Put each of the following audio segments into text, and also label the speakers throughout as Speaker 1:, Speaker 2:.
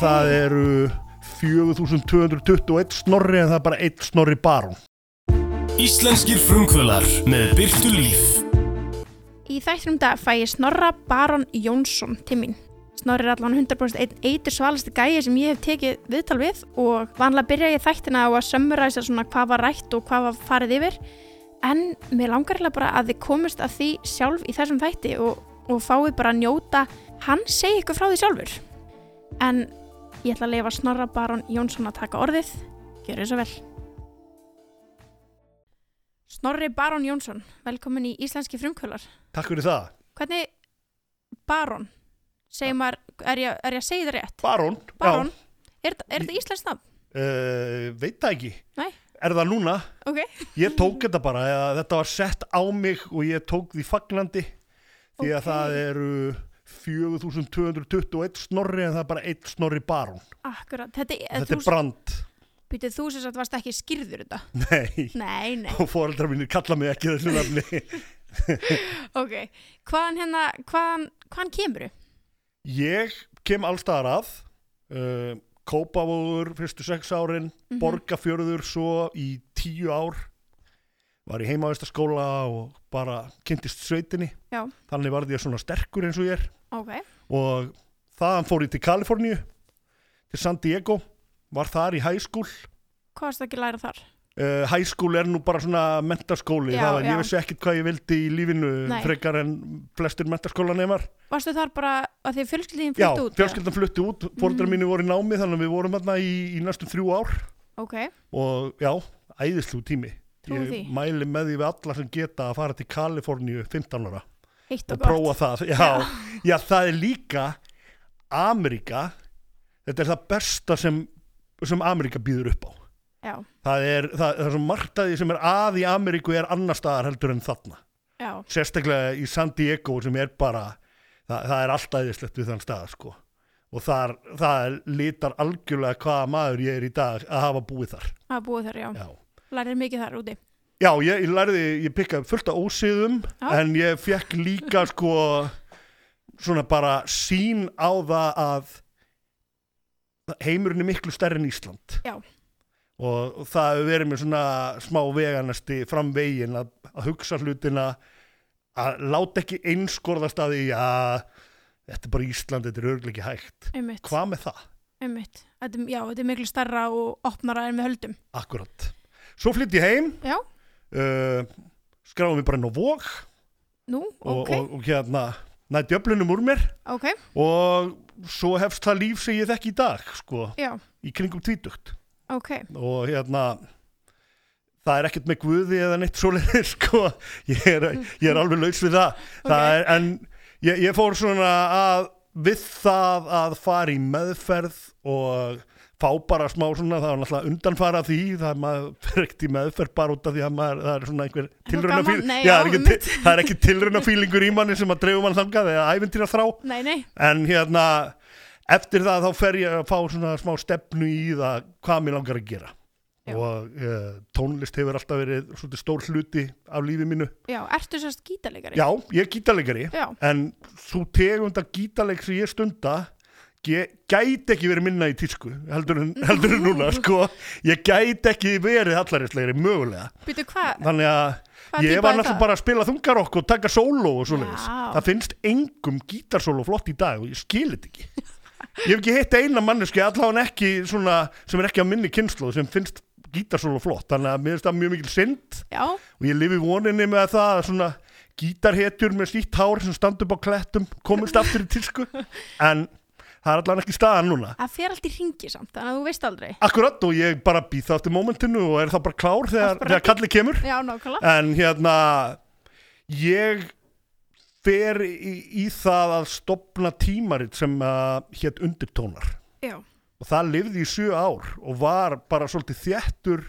Speaker 1: það eru 4221 snorri en það er bara einn snorri barón
Speaker 2: Íslenskir frumkvölar með Byrtu Líf
Speaker 3: Í þættinum dag fæ ég Snorra Baron Jónsson til mín. Snorri er allan 100% einn eitur svalasti gæi sem ég hef tekið viðtal við og vanlega byrja ég þættina á að sömmuræsa svona hvað var rætt og hvað var farið yfir en mér langar hérna bara að þið komist að því sjálf í þessum þætti og, og fáið bara að njóta hann segi ykkur frá því sjálfur. En ég ætla að leifa Snorra Baron Jónsson að taka orðið. Gjör þið svo vel. Snorri Baron Jónsson, velkomin í Íslenski frumkvölar.
Speaker 1: Takk fyrir það,
Speaker 3: hvernig barón segir maður, er ég, er ég að segja það rétt
Speaker 1: barón
Speaker 3: barón, er, þetta- er þetta íslensk nafn?
Speaker 1: uh, Veit það ekki
Speaker 3: Nei.
Speaker 1: Er það núna?
Speaker 3: ok,
Speaker 1: Ég tók þetta bara, eða, þetta var sett á mig og ég tók því fagnandi því að
Speaker 3: Ok.
Speaker 1: það eru 4221 snorri en það er bara einn snorri barón
Speaker 3: akkurat þetta,
Speaker 1: Þetta
Speaker 3: þú,
Speaker 1: er brand
Speaker 3: býtu, þú sem sagt varst ekki skýrður þetta
Speaker 1: Nei,
Speaker 3: nei, nei,
Speaker 1: og foreldrar mínir kalla mig ekki þessu nafni
Speaker 3: ok hvaðan hérna, hvaðan, hvaðan kemur
Speaker 1: Ég kem allstaðar að uh, Kópavóður fyrstu sex árin
Speaker 3: Mhm.
Speaker 1: Borgafjörður svo í tíu ár Var í heimavistaskóla og bara kynntist sveitinni
Speaker 3: Já.
Speaker 1: Þannig varði ég svona sterkur eins og ég er
Speaker 3: ok,
Speaker 1: og þaðan fór ég til Kaliforníu til San Diego Var þar í hæskúl
Speaker 3: hvað varst ekki að læra þar
Speaker 1: uh, Hæskúl er nú bara svona mentaskóli
Speaker 3: Já,
Speaker 1: Það var,
Speaker 3: já.
Speaker 1: ég vissi ekkit hvað ég vildi í lífinu
Speaker 3: Nei.
Speaker 1: frekar en flestir mentaskólaneimar
Speaker 3: varstu þar bara að því
Speaker 1: Já,
Speaker 3: fjölskyldin flutt út Mhm. eða?
Speaker 1: fjölskyldan flutti út, fóreldrar mínu voru í námi þannig að við vorum hérna í, í næstum þrjú ár
Speaker 3: ok,
Speaker 1: og já, æðislu tími
Speaker 3: Trúi
Speaker 1: Ég
Speaker 3: því.
Speaker 1: mæli með því við alla sem geta að fara til Kaliforníu 15 ára
Speaker 3: heitt og
Speaker 1: og
Speaker 3: gott
Speaker 1: prófa það já, já. það er líka Ameríka þetta er það besta sem, sem Ameríka býður upp á
Speaker 3: já,
Speaker 1: það er, það, það er svo margt að því sem er að í Ameríku er annar staðar heldur en þarna
Speaker 3: já,
Speaker 1: sérstaklega í San Diego sem er bara, það, það er allt æðislegt við þann stað sko og þar, það litar algjörlega hvaða maður ég er í dag að hafa búið þar
Speaker 3: að búa þar, já,
Speaker 1: já,
Speaker 3: lærir mikið þar úti
Speaker 1: já ég, ég lærði, ég pikkaði fullt af ósiðum
Speaker 3: Já.
Speaker 1: en ég fekk líka sko svona bara sín á það að heimurinn er miklu stærri en Ísland
Speaker 3: Já.
Speaker 1: og það hefur verið mér svona smá veganasti framvegin að, að hugsa hlutina að láta ekki einskorðast að því að þetta er bara Ísland, þetta er örugglega ekki hægt
Speaker 3: einmitt,
Speaker 1: hvað með það?
Speaker 3: einmitt þetta, já, þetta er miklu starra og opnara en við höldum
Speaker 1: Akkurat svo flytt ég heim
Speaker 3: já,
Speaker 1: uh, skráði mig bara inn á vók
Speaker 3: nú,
Speaker 1: og,
Speaker 3: ok,
Speaker 1: og, og hérna næði djöflunum úr mér
Speaker 3: ok
Speaker 1: og svo hefst það líf sem ég þekki í dag sko,
Speaker 3: já,
Speaker 1: í kringum tvítugt
Speaker 3: ok,
Speaker 1: og hérna það er ekkert með guði eða neitt svoleiðir sko, ég er, ég er alveg laus við það, það er, en ég, ég fór svona að við það að fara í meðferð og fá bara smá svona, það var náttúrulega undanfara því það er maður fer ekkert í meðferð bara út af því að maður, það er svona einhver tilrauna
Speaker 3: gaman? Nei,
Speaker 1: já,
Speaker 3: já,
Speaker 1: það er ekki,
Speaker 3: einmitt.
Speaker 1: til- það er ekki tilrauna fílingur í manni sem að dreifum hann þangað eða æfintýra þrá
Speaker 3: nei, nei
Speaker 1: en hérna eftir það þá fer ég að fá svona smá stefnu í það hvað mér langar að gera
Speaker 3: Já.
Speaker 1: og uh, tónlist hefur alltaf verið svona stór hluti af lífi mínu
Speaker 3: Já, ertu sérst gítarleikari?
Speaker 1: já, ég er gítarleikari
Speaker 3: Já,
Speaker 1: en svo tegunda gítarleik sem ég stunda ég gæti ekki verið minna í tísku heldur en, heldur en núna sko ég gæti ekki verið hallarislegri mögulega
Speaker 3: býtu hvað?
Speaker 1: þannig að
Speaker 3: Hvaða
Speaker 1: ég
Speaker 3: týpa
Speaker 1: var
Speaker 3: er
Speaker 1: náttúrulega
Speaker 3: það?
Speaker 1: bara að spila þungarokk og taka sóló og svoleiðis
Speaker 3: Já.
Speaker 1: það finnst engum gítarsóló flott í dag og ég skil þetta ekki ég hef ekki hitt eina manneski allavega ekki svona, sem er ekki á minni kynslu sem finnst gítarsóló flott þannig að mér finnst það mjög mikil synd
Speaker 3: Já,
Speaker 1: og ég lifi í voninni með að það að svona gítarhetjur með slítt hár sem standa upp á klettum komist aftur í tísku en það er allavega ekki staðan núna
Speaker 3: það fer allt í ringi samt, þannig að þú veist aldrei
Speaker 1: akkurat og ég bara býð það eftir momentinu og er það bara klár þegar,
Speaker 3: bara
Speaker 1: þegar kallið kemur
Speaker 3: Já, nákvæmlega
Speaker 1: en hérna ég fer í, í það að stopna tímarit sem uh, hétt undirtónar
Speaker 3: Já,
Speaker 1: og það lifði í sjö ár og var bara svolítið þjættur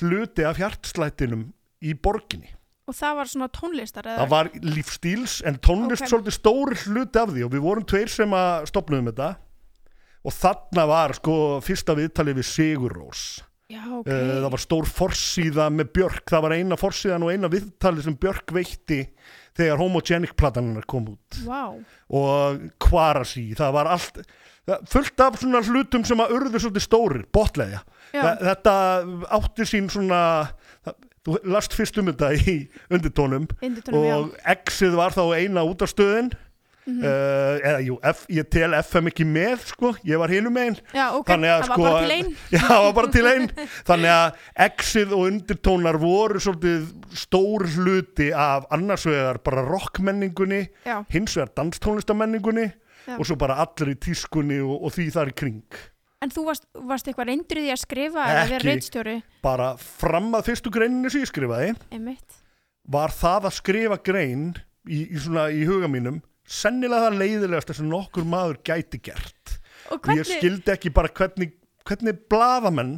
Speaker 1: hluti af hjartslætinum í borginni.
Speaker 3: og það var svona tónlistar eða
Speaker 1: Það var lífstíls en tónlist
Speaker 3: Ok.
Speaker 1: svolítið stóri hluti af því og við vorum tveir sem uh, að stopnaðum þetta og þarna var sko fyrsta viðtalið við Sigurrós
Speaker 3: já, ok
Speaker 1: Uh, það var stór forsíða með Björk, það var eina forsíðan og eina viðtalið sem Björk veitti þegar homogenic plataninnar kom út
Speaker 3: Vá,
Speaker 1: og kvarasi, það var allt það- fullt af svona hlutum sem að urðu svolítið stórir, botlega
Speaker 3: Já.
Speaker 1: Þa- þetta átti sín svona það- þú last fyrst um þetta í undirtónum
Speaker 3: Undirtónum, já. Mhm.
Speaker 1: og X-ið var þá eina útastöðin mm eða jú, F, ég tel FM ekki með sko, ég var hinum einn
Speaker 3: já, ok,
Speaker 1: þannig að
Speaker 3: það
Speaker 1: sko
Speaker 3: var bara til einn
Speaker 1: já, það var bara til einn þannig að exið og undirtónar voru svolítið stór hluti af annars vegar bara rockmenningunni
Speaker 3: Já,
Speaker 1: hins vegar danstónlistamenningunni
Speaker 3: Já.
Speaker 1: og svo bara allir í tískunni og, og því þar í kring
Speaker 3: en þú varst, varst eitthvað reyndur í því að skrifa eða vera
Speaker 1: Ekki.
Speaker 3: reynstjóri
Speaker 1: bara fram að fyrstu greininni sem ég skrifaði
Speaker 3: Einmitt,
Speaker 1: var það að skrifa grein í, í, svona, í huga mínum sennilega það leiðilegasta sem nokkur maður gæti gert og
Speaker 3: og
Speaker 1: ég
Speaker 3: hvernig
Speaker 1: skildi ekki bara hvernig, hvernig blaðamenn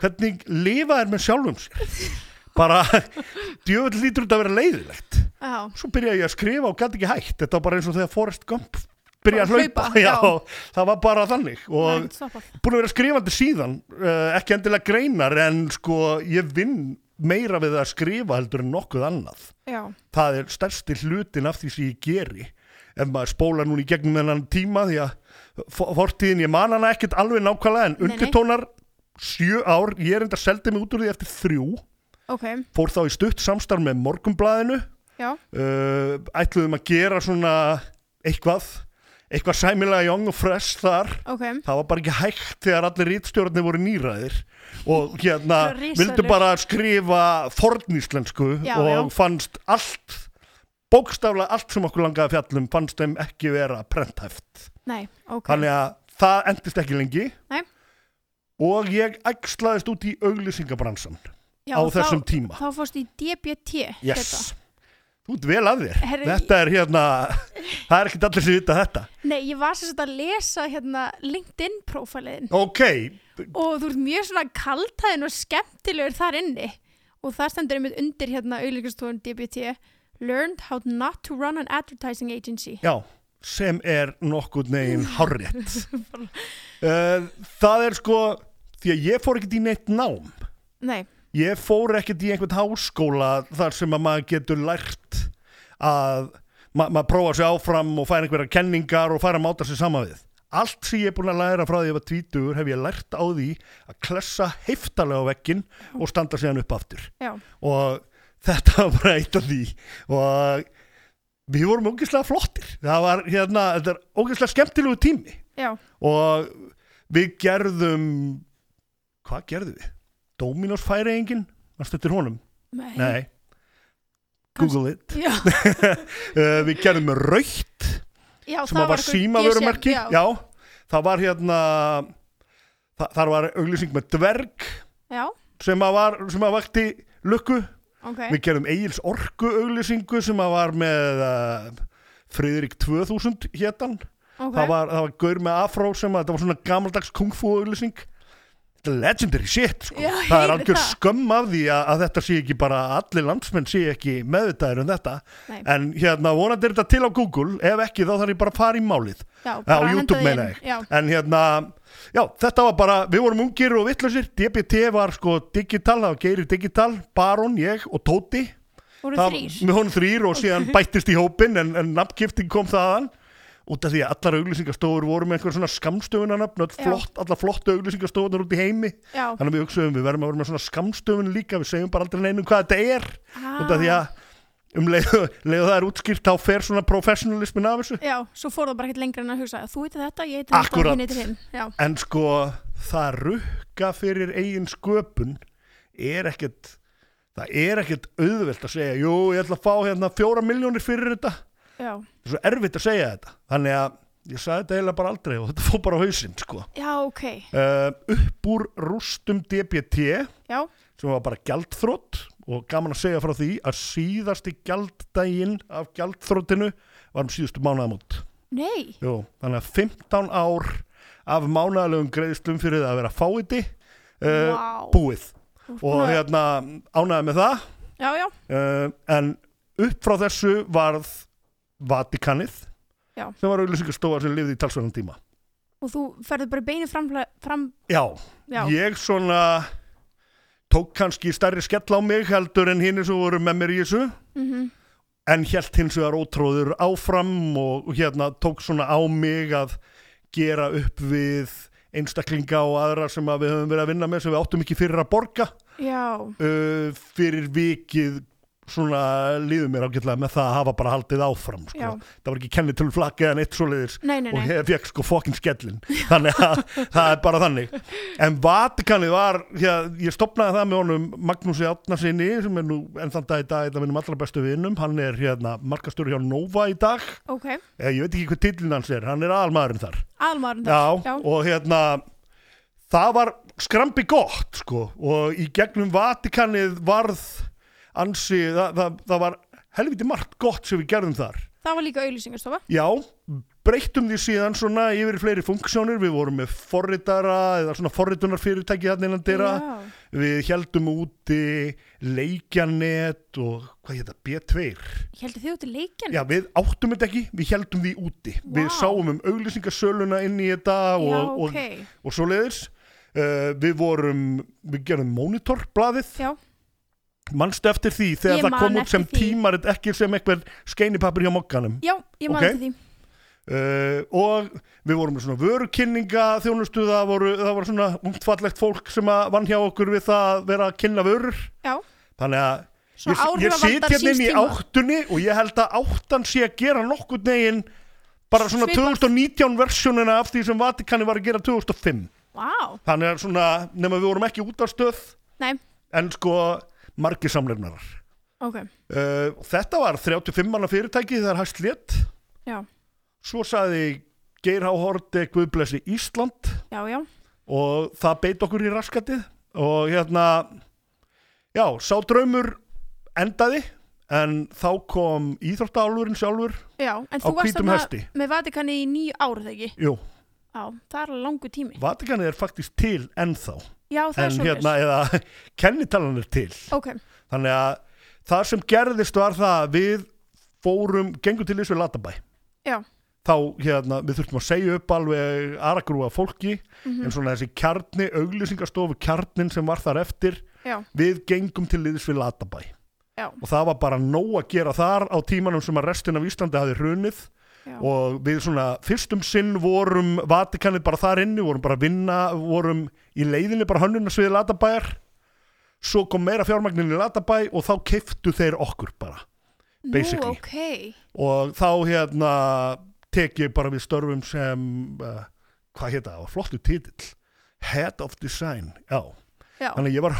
Speaker 1: hvernig lifa er með sjálfum sér bara djöfull lítur þetta að vera leiðilegt
Speaker 3: Já,
Speaker 1: svo byrjaði ég að skrifa og gæti ekki hægt þetta var bara eins og þegar Forrest Gump byrjaði
Speaker 3: Bara
Speaker 1: að
Speaker 3: hlaupa,
Speaker 1: hlaupa, já,
Speaker 3: já.
Speaker 1: það var bara þannig
Speaker 3: það
Speaker 1: og
Speaker 3: er ekki stoppað
Speaker 1: búin að vera skrifandi síðan uh, ekki endilega greinar en sko ég vinn meira við að skrifa heldur en nokkuð annað
Speaker 3: Já,
Speaker 1: það er stærsti hlutin af því sem ég geri ef maður spólar núna í gegnum þennan tíma því að fo- fortíðin ég man hana ekkert alveg nákvæmlega en
Speaker 3: Nei, nei.
Speaker 1: undirtónar sjö ár, ég er enda seldið mig út úr því eftir þrjú,
Speaker 3: ok,
Speaker 1: fór þá í stutt samstarf með morgumblaðinu
Speaker 3: já,
Speaker 1: uh, ætluðum að gera svona eitthvað eitthvað sæmilega young og fresh þar
Speaker 3: ok
Speaker 1: það var bara ekki hægt þegar allir rítstjórnir voru nýræðir og hérna
Speaker 3: Svo risalegur.
Speaker 1: vildu bara skrifa forníslensku
Speaker 3: Já,
Speaker 1: og
Speaker 3: já.
Speaker 1: fannst allt bókstaflega allt sem okkur langaði að fjallum fannst þeim ekki vera prenthæft
Speaker 3: Nei, ok,
Speaker 1: þannig að það endist ekki lengi
Speaker 3: Nei.
Speaker 1: og ég ægslaðist út í auglýsingabransan
Speaker 3: já,
Speaker 1: á
Speaker 3: þá-
Speaker 1: þessum tíma
Speaker 3: Þá fórstu í DBT þetta.
Speaker 1: yes. þú ert vel að þér
Speaker 3: Herri,
Speaker 1: þetta er hérna það er ekkert allir sem vita þetta
Speaker 3: Nei, ég var sem sagt að lesa hérna LinkedIn prófæliðin
Speaker 1: ok,
Speaker 3: og þú ert mjög svona kaltæðin og skemmtilegur þar inni og það stendur einmitt undir hérna auðlíkastofun DBT Learned how not to run an advertising agency
Speaker 1: já sem er nokkurn neginn hárétt Uh, það er sko því að ég fór ekkert í neitt nám
Speaker 3: Nei,
Speaker 1: ég fór ekkert í einhvern háskóla þar sem að maður getur lært að ma maður prófa sig áfram og fær einhverja kenningar og fær að máta sig sama við allt sem ég er búin að læra frá því að ég var tvítugur hef ég lært á því að klessa heiftarlega á veggin og standa síðan upp aftur
Speaker 3: já,
Speaker 1: og þetta var bara eitt af því og við vorum ógeðslega flottir það var hérna, þetta er ógeðslega skemmtilegu tími
Speaker 3: já,
Speaker 1: og við gerðum hvað gerðum við? Dominos færeingin mann stöttir honum?
Speaker 3: nei,
Speaker 1: Nei,
Speaker 3: Kannst-
Speaker 1: Google it
Speaker 3: Já,
Speaker 1: uh, við gerðum raukt
Speaker 3: já,
Speaker 1: sem að var
Speaker 3: einhver
Speaker 1: símavörumarki
Speaker 3: GSM,
Speaker 1: já, það var hérna þa þar var auglýsing með dverg
Speaker 3: já,
Speaker 1: sem að var, sem að vakti lukku
Speaker 3: ok,
Speaker 1: við gerðum Egil's orku auglýsingu sem að var með uh, Friðrik 2000 hétan
Speaker 3: ok
Speaker 1: það var, það var gaur með afró sem að þetta var svona gamaldags kungfu auglýsing Þetta er legendary shit sko.
Speaker 3: Já,
Speaker 1: það er
Speaker 3: heyri
Speaker 1: algjör
Speaker 3: það.
Speaker 1: skömm af því að, að þetta sé ekki bara allir landsmenn sé ekki meðvitaðir um þetta
Speaker 3: Nei.
Speaker 1: en hérna vonandi er þetta til á Google ef ekki þá þarf ég bara að fara í málið
Speaker 3: já,
Speaker 1: Já,
Speaker 3: bara henda
Speaker 1: YouTube
Speaker 3: því
Speaker 1: meina
Speaker 3: inn.
Speaker 1: ég.
Speaker 3: Já,
Speaker 1: en hérna, já, þetta var bara við vorum ungir og vittlausir, DBT var sko digital, það var geiri digital Baron, ég og Tóti
Speaker 3: voru
Speaker 1: Það-
Speaker 3: þrýr
Speaker 1: með honum þrýr og síðan bættist í hópin en, en nafngifting kom þaðan út af því að allar auglýsingastofur voru með einhver svona skamstöfunarnafn öll
Speaker 3: Já.
Speaker 1: flott, allar flott auglýsingastofunar út í heimi
Speaker 3: Já,
Speaker 1: þannig að við hugsaðum við verðum að vera með svona skamstöfun líka við segjum bara aldrei neinum hvað þetta er út
Speaker 3: Ah.
Speaker 1: af því að um leiðu, leiðu það er útskýrt þá fer svona professionalismin af þessu
Speaker 3: já, svo fór það bara ekkert lengra en að hugsa þú heitir þetta, ég heitir
Speaker 1: Akkúrat.
Speaker 3: þetta, og hinn heitir hinn Já,
Speaker 1: en sko það rukka fyrir eigin sköpun er ekkert það er ekkert auðvelt að segja jú ég ætla að fá hérna fjóra miljónir fyrir þetta
Speaker 3: já,
Speaker 1: það er svo erfitt að segja þetta þannig að ég sagði þetta eiginlega bara aldrei og þetta fór bara á hausinn sko.
Speaker 3: já, ok
Speaker 1: uh, upp úr rústum DBT
Speaker 3: Já,
Speaker 1: sem var bara gjaldþrótt og gaman að segja frá því að síðasti gjalddaginn af gjaldþróttinu var um síðustu mánaðamót
Speaker 3: nei
Speaker 1: Jú, þannig að 15 ár af mánaðalegum greiðslum fyrir það að vera fáiði uh,
Speaker 3: Vá.
Speaker 1: búið og
Speaker 3: búin að-
Speaker 1: hérna ánæði með það
Speaker 3: Já, já,
Speaker 1: uh, en upp frá þessu varð Vatikanið
Speaker 3: Já.
Speaker 1: sem var auðlýsingastofa sem lifði í talsverðan tíma
Speaker 3: og þú ferður bara í beinu fram, fram
Speaker 1: já,
Speaker 3: já,
Speaker 1: ég svona tók kannski stærri skell á mig heldur en hinn sem voru með mér í þessu en hjælt hins vegar ótróður áfram og, og hérna tók svona á mig að gera upp við einstaklinga og aðra sem að við höfum verið að vinna með sem við áttum ekki fyrir að borga
Speaker 3: já,
Speaker 1: uh, fyrir vikið svona líður mér ágætlega með það að hafa bara haldið áfram
Speaker 3: Já.
Speaker 1: sko. það var ekki kennið til flakka eða neitt svoleiðis
Speaker 3: nei, nei,
Speaker 1: og
Speaker 3: nei,
Speaker 1: ég fekk sko fokkin skellin þannig að það er bara þannig en Vatikanið var hér, ég stopnaði það með honum Magnúsi Átnarsinni sem er nú enn þann dag í dag einn af minnum allra bestu vinum, hann er hérna markastur hjá Nova í dag Eh,
Speaker 3: ok,
Speaker 1: ég, ég veit ekki hvað tillin hans er, hann er aðalmaðurinn þar
Speaker 3: almaðurinn
Speaker 1: já,
Speaker 3: já,
Speaker 1: og hérna það var skrambi gott sko og í gegnum Vatikanið varð ansi, það, það, það var helviti margt gott sem við gerðum þar
Speaker 3: það var líka auðlýsingarstofa,
Speaker 1: Já, breyttum því síðan svona yfir í fleiri funksjónir, við vorum með forritara eða svona forritunarfyrirtæki þarna innan dyra,
Speaker 3: já,
Speaker 1: við heldum úti leikjanet og hvað hétta, B2
Speaker 3: ég heldur þið út í leikin,
Speaker 1: Já, við áttum þetta ekki, við heldum því úti
Speaker 3: Vá.
Speaker 1: við sáum um auglýsingasöluna inn í þetta og,
Speaker 3: ok,
Speaker 1: og, og svoleiðis uh, við vorum, við gerum monitorblaðið,
Speaker 3: já,
Speaker 1: mannstu eftir því þegar
Speaker 3: Ég
Speaker 1: það kom
Speaker 3: man
Speaker 1: út sem
Speaker 3: eftir því.
Speaker 1: tímarit ekki sem eitthvað skeinipapir hjá mokkanum
Speaker 3: já, ég
Speaker 1: Ok.
Speaker 3: maður okay. því,
Speaker 1: Uh, og við vorum með svona vörukynninga þjónustu, það voru, það voru svona ungtfallegt fólk sem að vann hjá okkur við það að vera að kynna vörur
Speaker 3: já,
Speaker 1: þannig að ég,
Speaker 3: svona
Speaker 1: ég sit
Speaker 3: áhrifavaldar
Speaker 1: hérna
Speaker 3: síns
Speaker 1: inn í
Speaker 3: tíma,
Speaker 1: áttunni og ég held að áttan sé að gera nokkur negin bara svona
Speaker 3: Svipað.
Speaker 1: 2019 versjónina af því sem Vatikani var að gera 2005
Speaker 3: vá,
Speaker 1: þannig að svona, nema við vorum ekki út af stöð
Speaker 3: nei,
Speaker 1: en sko margir samlefnarar
Speaker 3: ok,
Speaker 1: uh, þetta var 35 manna fyrirtæki þegar hægt létt
Speaker 3: já,
Speaker 1: svo saði Geir H. Horde Guðblessi Ísland
Speaker 3: já, já,
Speaker 1: og það beit okkur í raskatið og hérna já, sá draumur endaði en þá kom íþróttaálurinn sjálfur
Speaker 3: já, en
Speaker 1: á
Speaker 3: þú varst
Speaker 1: hvítum
Speaker 3: þarna
Speaker 1: hesti
Speaker 3: með Vatikani í nýju ár þegar ekki,
Speaker 1: Jú,
Speaker 3: já, það er langu tími,
Speaker 1: Vatikanið er faktisk til ennþá
Speaker 3: já, það er
Speaker 1: en
Speaker 3: svo
Speaker 1: hérna, eða kennitalan er til
Speaker 3: ok,
Speaker 1: þannig að það sem gerðist var það að við fórum, gengum til þessu latabæ
Speaker 3: Já.
Speaker 1: þá hérna, við þurftum að segja upp alveg aragrúa fólki en svona þessi kjarni, auglýsingastofu kjarnin sem var þar eftir
Speaker 3: já,
Speaker 1: við gengum til liðs við Latabæ
Speaker 3: Já.
Speaker 1: og það var bara nóg að gera þar á tímanum sem að restin af Íslandi hafi hrunið
Speaker 3: já,
Speaker 1: og við svona fyrstum sinn vorum Vatikanið bara þar inni, vorum bara að vinna vorum í leiðinni bara hönnunarsviði Latabæjar svo kom meira fjármagnin í Latabæ og þá keiftu þeir okkur bara basically.
Speaker 3: nú, ok,
Speaker 1: og þá hérna tek ég bara við störfum sem uh, hvað heita það, var flottu titill Head of Design, já
Speaker 3: já,
Speaker 1: Þannig að ég var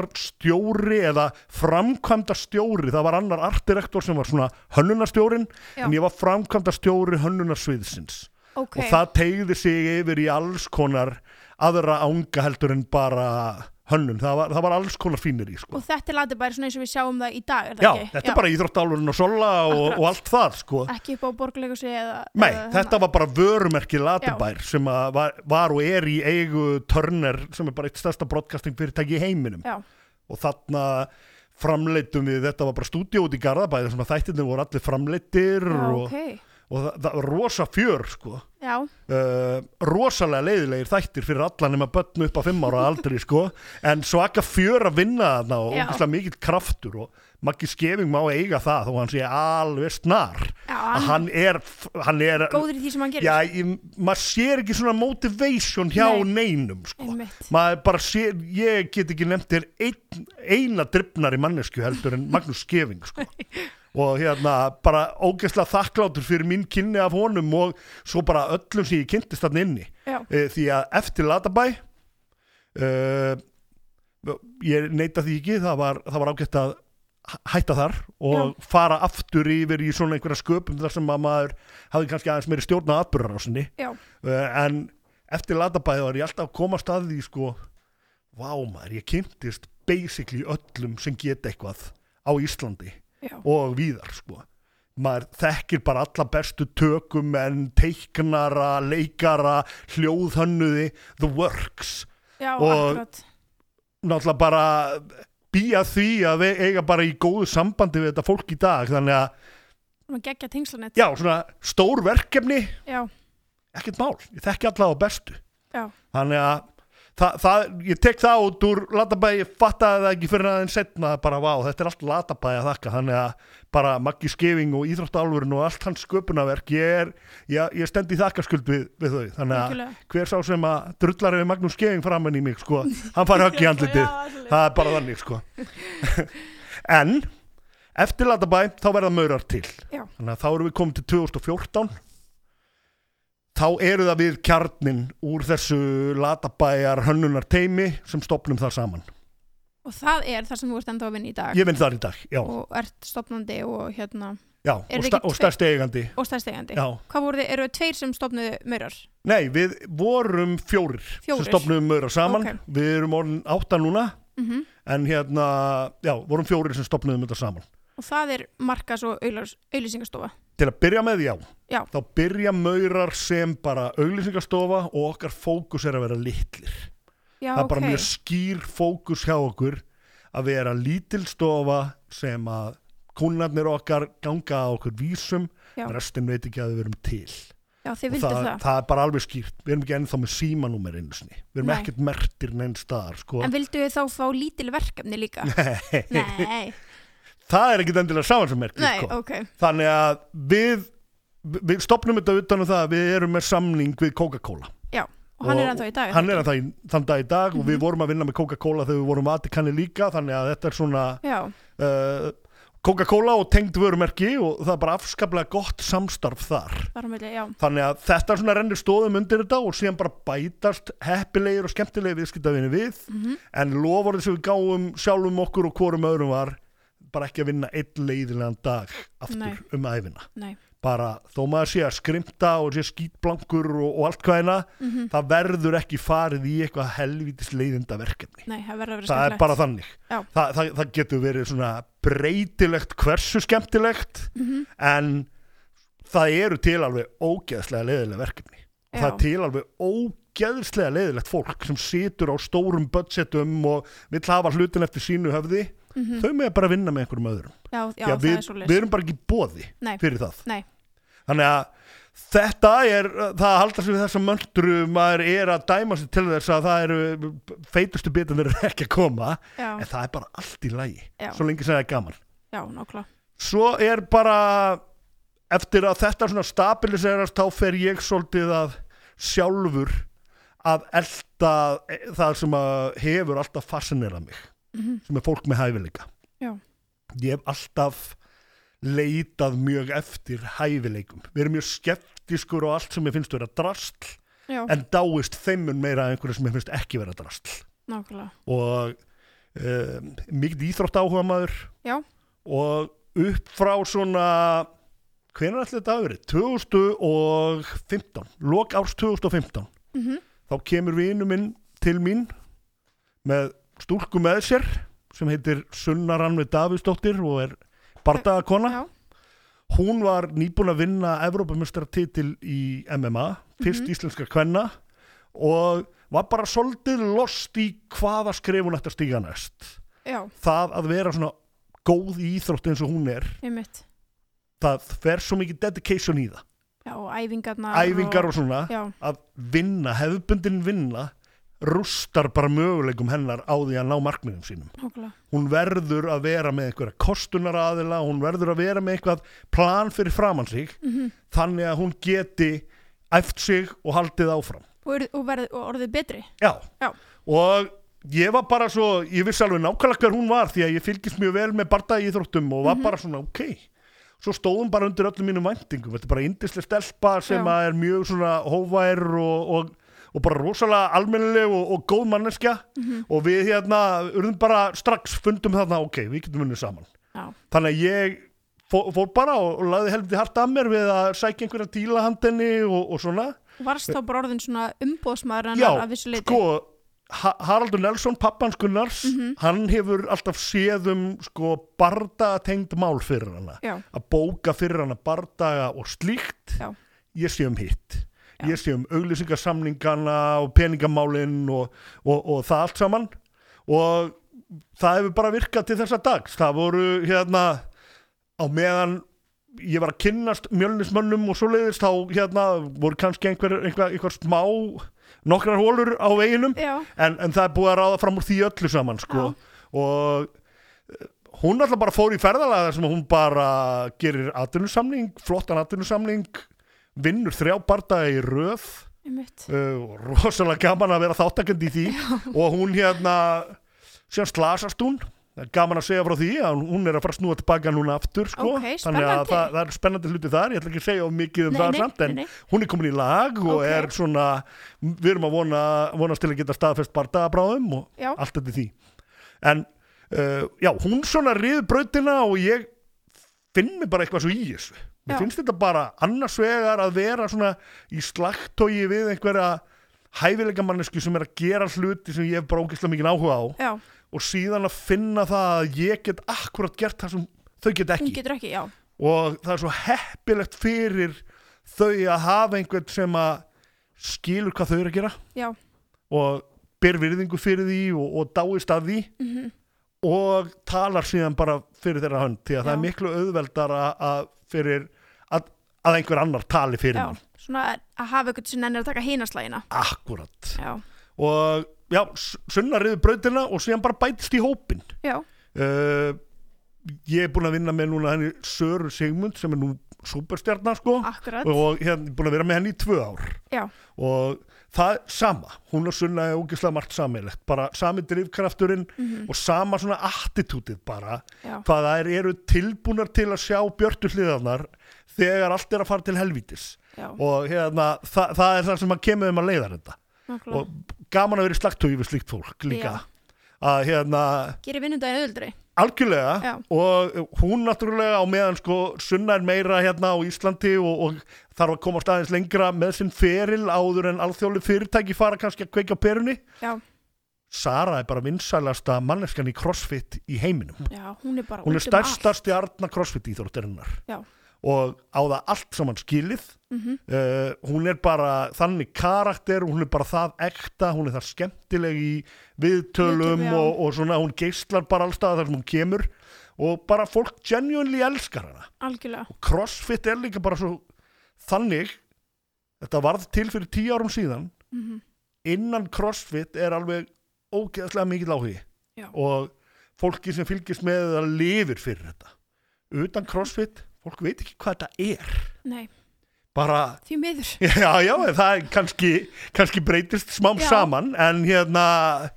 Speaker 1: hönnunarstjóri eða framkvæmdastjóri, það var annar artdirektor sem var svona hönnunarstjórin,
Speaker 3: Já.
Speaker 1: en ég var framkvæmdastjóri hönnunarsviðsins.
Speaker 3: ok,
Speaker 1: Og það tegði sig yfir í alls konar aðra ánga heldur en bara hönnun, það var, það var alls konar fínir í sko.
Speaker 3: og þetta er latið bara svona eins og við sjáum það í dag, er það
Speaker 1: Já,
Speaker 3: ekki?
Speaker 1: þetta er bara íþróttálurinn og sola og,
Speaker 3: Akkurat.
Speaker 1: og allt það sko.
Speaker 3: Ekki upp á borgleikusi eða...
Speaker 1: Nei,
Speaker 3: eða hérna-
Speaker 1: þetta var bara vörumerki Latibær sem að var, var og er í eigu Turner sem er bara eitt stærsta broadcasting fyrirtæki í heiminum
Speaker 3: Já.
Speaker 1: og þarna framleitum við þetta var bara stúdíó út í Garðabæði sem að þættirnir voru allir framleittir
Speaker 3: Já,
Speaker 1: og,
Speaker 3: ok.
Speaker 1: og það, það var rosa fjör sko
Speaker 3: Já,
Speaker 1: uh, rosalega leiðilegir þættir fyrir alla nema börn upp á fimm ára aldri sko en svaka fjör að vinna þarna og
Speaker 3: Já.
Speaker 1: ógeðslega mikill kraftur og Maggi Skefing má eiga það þó hann sé alveg snar
Speaker 3: já,
Speaker 1: að
Speaker 3: hann
Speaker 1: hann er, hann er
Speaker 3: er góður í því sem hann gerir.
Speaker 1: Já, ég, maður sér ekki svona motivation hjá
Speaker 3: Nei.
Speaker 1: neinum sko.
Speaker 3: Einmitt.
Speaker 1: maður bara sér, ég get ekki nefnt þér ein, eina drifnari mannesku heldur en Magnús Skeving sko. og hérna bara ógeðslega þakklátur fyrir mín kynni af honum og svo bara öllum sem ég kynntist þarna inni
Speaker 3: Já,
Speaker 1: e, því að eftir Latabæ e, ég neita því ekki það var, það var ágætt að hæ- hætta þar og fara aftur yfir í svona einhverja sköpum þar sem að maður hafði kannski aðeins meiri stjórna aðburðar á sinni
Speaker 3: já,
Speaker 1: en eftir Latabæ var ég alltaf að koma að staði því sko vá maður, ég kynntist basically öllum sem geta eitthvað á Íslandi
Speaker 3: já,
Speaker 1: og víðar sko maður þekkir bara alla bestu tökum en teiknara, leikara hljóðhönnuði, the works
Speaker 3: já,
Speaker 1: og-
Speaker 3: akkurat.
Speaker 1: náttúrulega bara býja því að við eiga bara í góðu sambandi við þetta fólk í dag þannig að,
Speaker 3: Svona geggja tengslanett.
Speaker 1: já, svona stór verkefni
Speaker 3: Já,
Speaker 1: ekkert mál, ég þekki alla á bestu
Speaker 3: já,
Speaker 1: þannig að Þa, það, ég tek það út úr latabæði, ég fattaði það ekki fyrir aðeins setna bara vá, þetta er allt latabæði að þakka þannig að bara Maggi Skeving og Íþróttálfurinn og allt hans sköpunaverk ég, er, ég, ég stend í þakkarskuld við, við þau þannig
Speaker 3: Algjörlega.
Speaker 1: að hver sá sem að drullar við Magnús Skeving framann í mig sko, hann fari högg í andlitið það er bara þannig sko en eftir Latabæ þá verða maurar til
Speaker 3: Já.
Speaker 1: þannig að þá erum við komin til 2014 þá eru það við kjarnin úr þessu Latabæjar hönnunar teimi sem stopnum það saman
Speaker 3: og það er það sem þú ert enda að vinna í dag
Speaker 1: ég vinn þar í dag, já,
Speaker 3: og ert stopnandi og hérna
Speaker 1: já og,
Speaker 3: þið
Speaker 1: sta
Speaker 3: ekki
Speaker 1: og stærst eigandi
Speaker 3: og stæðstegandi
Speaker 1: já.
Speaker 3: hvað voru þið, eru þið tveir sem stopnuðu maurar
Speaker 1: nei, við vorum fjórir,
Speaker 3: Fjórir.
Speaker 1: sem stopnum maurar saman
Speaker 3: Ok.
Speaker 1: við erum orðin átta núna
Speaker 3: mm
Speaker 1: en hérna, já, vorum fjórir sem stopnum þetta saman
Speaker 3: og það er markas og auglýs- auglýsingastofa
Speaker 1: Til að byrja með, já.
Speaker 3: Já.
Speaker 1: Þá byrja maurar sem bara auglýsingastofa og okkar fókus er að vera litlir.
Speaker 3: já,
Speaker 1: það er
Speaker 3: ok,
Speaker 1: bara mjög skýr fókus hjá okkur að vera lítil stofa sem að kúnarnir okkar ganga á okkur vísum,
Speaker 3: Já.
Speaker 1: restin veit ekki að við verum til.
Speaker 3: já, þið
Speaker 1: Og
Speaker 3: vildu
Speaker 1: það,
Speaker 3: það,
Speaker 1: það er bara alveg skýrt. Við erum ekki ennþá með símanúmer einu sinni. Við erum
Speaker 3: Nei.
Speaker 1: ekkert mertir neinn staðar, sko.
Speaker 3: en vildu þið þá fá lítil verkefni líka nei,
Speaker 1: það er ekkert endilega sáan sem merkir,
Speaker 3: nei,
Speaker 1: sko.
Speaker 3: ok
Speaker 1: Þannig að við, við stopnum þetta utan á það að við erum með samning við Coca-Cola.
Speaker 3: já, og hann er ennþá í dag Mhm.
Speaker 1: hann er ennþá í- þann dag í dag og við vorum að vinna með Coca-Cola þegar við vorum Vatikanni líka þannig að þetta er svona
Speaker 3: já,
Speaker 1: uh, Coca-Cola og tengd vörumerki og það er bara afskaplega gott samstarf þar
Speaker 3: bara með, já,
Speaker 1: þannig að þetta svona rennir stóðum undir þetta og síðan bara bætast heppilegir og skemmtilegir viðskiptavinni við
Speaker 3: Mhm.
Speaker 1: en loforðið sem við gáum sjálfum okkur og hvorum öðrum var bara ekki að vinna einn leiðilegan dag aftur
Speaker 3: Nei.
Speaker 1: um æfina
Speaker 3: nei
Speaker 1: bara þó maður sé að skrimta og sé skítblankur og, og allt hvaðina
Speaker 3: mm
Speaker 1: það verður ekki farið í eitthvað helvítis leiðinda verkefni
Speaker 3: nei, það verður að vera
Speaker 1: það er
Speaker 3: skemmtilegt.
Speaker 1: bara þannig
Speaker 3: Já.
Speaker 1: það, það, það getur verið svona breytilegt hversu skemmtilegt
Speaker 3: Mhm.
Speaker 1: en það eru til alveg ógeðslega leiðilega verkefni Og það
Speaker 3: Já.
Speaker 1: er til alveg ógeðslega leiðilegt fólk sem situr á stórum budgetum og vill hafa hlutin eftir sínu höfði
Speaker 3: Mhm.
Speaker 1: þau með bara vinna með einhverjum öðrum
Speaker 3: já, já,
Speaker 1: Því að
Speaker 3: það
Speaker 1: við,
Speaker 3: er svo
Speaker 1: við erum bara ekki bóði
Speaker 3: Nei.
Speaker 1: fyrir það
Speaker 3: Nei.
Speaker 1: þannig að þetta er það að halda sig við þessa möndru maður er að dæma sig til þess að það eru feitustu bitin þeir eru ekki að koma
Speaker 3: já,
Speaker 1: en það er bara allt í lagi
Speaker 3: Já.
Speaker 1: svo lengi sem það er gaman
Speaker 3: já, nokkla
Speaker 1: svo er bara eftir að þetta svona stabiliserast þá fer ég svolítið að sjálfur að elta það sem að hefur alltaf fascinerað mig
Speaker 3: Mhm,
Speaker 1: sem er fólk með hæfileika
Speaker 3: Já.
Speaker 1: ég hef alltaf leitað mjög eftir hæfileikum við erum mjög skeptiskur og allt sem ég finnst vera drastl
Speaker 3: já,
Speaker 1: en dáist þeimun meira að einhverju sem ég finnst ekki vera drastl
Speaker 3: nokkla
Speaker 1: og um, mikið íþrótt áhuga maður
Speaker 3: Já.
Speaker 1: og upp frá svona hvenær ætli þetta hafi verið? 2015 lok árs 2015
Speaker 3: mm
Speaker 1: þá kemur vinu minn til mín með stúlku með sér sem heitir Sunna Rannvið Davíðsdóttir og er bardagakona
Speaker 3: já,
Speaker 1: hún var nýbúin að vinna Evrópamestartitil í MMA fyrst íslenska kvenna og var bara svolítið lost í hvaða skref hún ætti að stíga næst
Speaker 3: já,
Speaker 1: það að vera svona góð í íþrótt eins og hún er
Speaker 3: ég mitt
Speaker 1: það fer svo mikið dedication í það
Speaker 3: já, og æfingarnar
Speaker 1: æfingar og svona
Speaker 3: já,
Speaker 1: að vinna, hefðbundin vinna rústar bara möguleikum hennar á því að ná markmiðum sínum
Speaker 3: nokkla
Speaker 1: hún verður að vera með einhverja kostunar aðila, hún verður að vera með eitthvað plan fyrir framann sig
Speaker 3: Mhm.
Speaker 1: þannig að hún geti æft sig og haldið áfram
Speaker 3: og, eru- og, verð, og orðið betri
Speaker 1: Já.
Speaker 3: Já.
Speaker 1: og ég var bara svo ég vissi alveg nákvæmlega hver hún var því að ég fylgist mjög vel með bardaði íþróttum og var bara svona ok svo stóðum bara undir öllum mínum væntingum þetta er bara indislega stelpa sem
Speaker 3: Já.
Speaker 1: að er mjög svona hóvær og, og, og bara rosalega almennileg og, og góð manneskja og við hérna urðum bara strax fundum þarna ok, við getum unnið saman
Speaker 3: já,
Speaker 1: þannig að ég fór, fór bara og, og laði helfti hart að mér við að sækja einhverja dílahandinni og, og svona
Speaker 3: og varst þá bara orðin svona umbóðsmaður
Speaker 1: Já,
Speaker 3: hennar að vissu leiti
Speaker 1: sko, ha Haraldur Nelson, pappans Gunnars
Speaker 3: Mhm.
Speaker 1: hann hefur alltaf séð um sko barda tengd mál fyrir hana
Speaker 3: já,
Speaker 1: að bóka fyrir hana bardaga og slíkt
Speaker 3: Já.
Speaker 1: ég sé um hitt
Speaker 3: Já.
Speaker 1: ég sé um auglýsingarsamningana og peningamálin og, og, og það allt saman og það hefur bara virkað til þessa dags það voru hérna á meðan ég var að kynnast mjölnismönnum og svo leiðist þá hérna voru kannski einhver, einhver, einhver smá nokkrar hólur á veginum
Speaker 3: já,
Speaker 1: en, en það er búið að ráða fram úr því öllu saman sko. og eh, hún alltaf bara fór í ferðalega þar sem hún bara gerir atvinnusamning, flottan atvinnusamning vinnur þrjá barda í röð
Speaker 3: einmitt
Speaker 1: uh, og rosalega gaman að vera þáttakandi í því og hún hérna síðan slasast hún Það er gaman að segja frá því að hún er að fara að snúa tilbaka núna aftur sko.
Speaker 3: Ókei,
Speaker 1: þannig að
Speaker 3: spennandi.
Speaker 1: það, það er spennandi hluti þar ég ætla ekki að segja of mikið um það samt en
Speaker 3: nei,
Speaker 1: hún er komin í lag og
Speaker 3: Ókei.
Speaker 1: er svona við erum að vona, vonast til að geta staðfest bardagabráðum og
Speaker 3: Já.
Speaker 1: allt þetta því en uh, já, hún svona riður brautina og ég finn mig bara eitthvað svo í þessu mér
Speaker 3: Já.
Speaker 1: finnst þetta bara annars vegar að vera svona í slagtogi við einhverja hæfilega mannesku sem er að gera hluti sem ég hef bara ógeðslega mikið áhuga á
Speaker 3: já,
Speaker 1: og síðan að finna það að ég get akkurat gert það sem þau get ekki
Speaker 3: hún getur ekki, já
Speaker 1: og það er svo heppilegt fyrir þau að hafa einhvern sem að skilur hvað þau eru að gera
Speaker 3: Já.
Speaker 1: og ber virðingu fyrir því og, og dáist af því
Speaker 3: Mhm.
Speaker 1: -hmm. og talar síðan bara fyrir þeirra hönd því að það
Speaker 3: Já.
Speaker 1: er miklu auðveldar að, að fyrir að, að einhver annar tali fyrir
Speaker 3: já,
Speaker 1: mann
Speaker 3: svona að- að hafa eitthvað sem nennir að taka hínaslægina
Speaker 1: akkurat
Speaker 3: já,
Speaker 1: og já, S- sunna riður brautina og síðan bara bætist í hópin
Speaker 3: já,
Speaker 1: uh, ég er búin að vinna með núna henni Söru Sigmund sem er nú superstjarnar sko
Speaker 3: akkurat
Speaker 1: og hérna búin að vera með henni í tvö ár
Speaker 3: já,
Speaker 1: og það sama hún og Sunna er ógeðslega margt samilegt bara sami drifkrafturinn og sama svona attitútið bara
Speaker 3: Mhm. já,
Speaker 1: hvað þær eru tilbúnar til að sjá björtu hliðarnar þegar allt er að fara til helvítis
Speaker 3: já,
Speaker 1: og hérna, þa það er það sem að kemur um að leiða þetta
Speaker 3: nákvæmlega
Speaker 1: og gaman að vera í slagtögi við slíkt fólk líka að hérna
Speaker 3: gerir vinnundaginn auðvöldri
Speaker 1: algjörlega
Speaker 3: Já.
Speaker 1: og hún náttúrulega á meðan sko sunna er meira hérna á Íslandi og, og þarf að komast aðeins lengra með sinn feril áður en alþjóðlega fyrirtæki fara kannski að kveika á perunni
Speaker 3: já,
Speaker 1: Sara er bara vinsælasta manneskan í crossfit í heiminum
Speaker 3: já, hún er bara
Speaker 1: hún
Speaker 3: út
Speaker 1: er
Speaker 3: um
Speaker 1: stærsta stjarnar crossfit íþróttarinnar
Speaker 3: Já.
Speaker 1: og á það allt saman skilið
Speaker 3: Mhm.
Speaker 1: uh, hún er bara þannig karakter hún er bara það ekta, hún er það skemmtileg í viðtölum
Speaker 3: Viðtölum, já.
Speaker 1: og, og svona hún geislar bara allstað þar sem hún kemur og bara fólk genuinely elskar hana
Speaker 3: allt, algjörlega
Speaker 1: og crossfit er líka bara svo þannig þetta varð til fyrir tíu árum síðan
Speaker 3: mm
Speaker 1: innan crossfit er alveg ógeðslega mikill áhugi
Speaker 3: Já.
Speaker 1: og fólki sem fylgist með það lifir fyrir þetta utan crossfit, fólk veit ekki hvað þetta er
Speaker 3: nei,
Speaker 1: bara
Speaker 3: því miður
Speaker 1: Já, já, það er kannski, kannski breytist smám
Speaker 3: Já.
Speaker 1: saman en hérna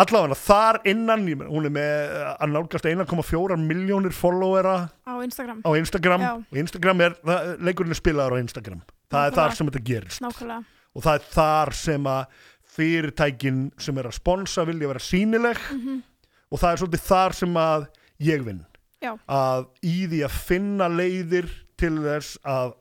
Speaker 1: allavega þar innan ég meina, hún er með að nálgast 1,4 miljónir followera
Speaker 3: á Instagram,
Speaker 1: á Instagram
Speaker 3: Já.
Speaker 1: og Instagram er, það, leikurinn er spilaður á Instagram það er
Speaker 3: Nákvæmlega.
Speaker 1: þar sem þetta gerist
Speaker 3: nákvæmlega
Speaker 1: og það er þar sem að fyrirtækin sem er að sponsa vilja vera sýnileg
Speaker 3: Mhm.
Speaker 1: og það er svolítið þar sem að ég vinn
Speaker 3: Já.
Speaker 1: að í því að finna leiðir til þess að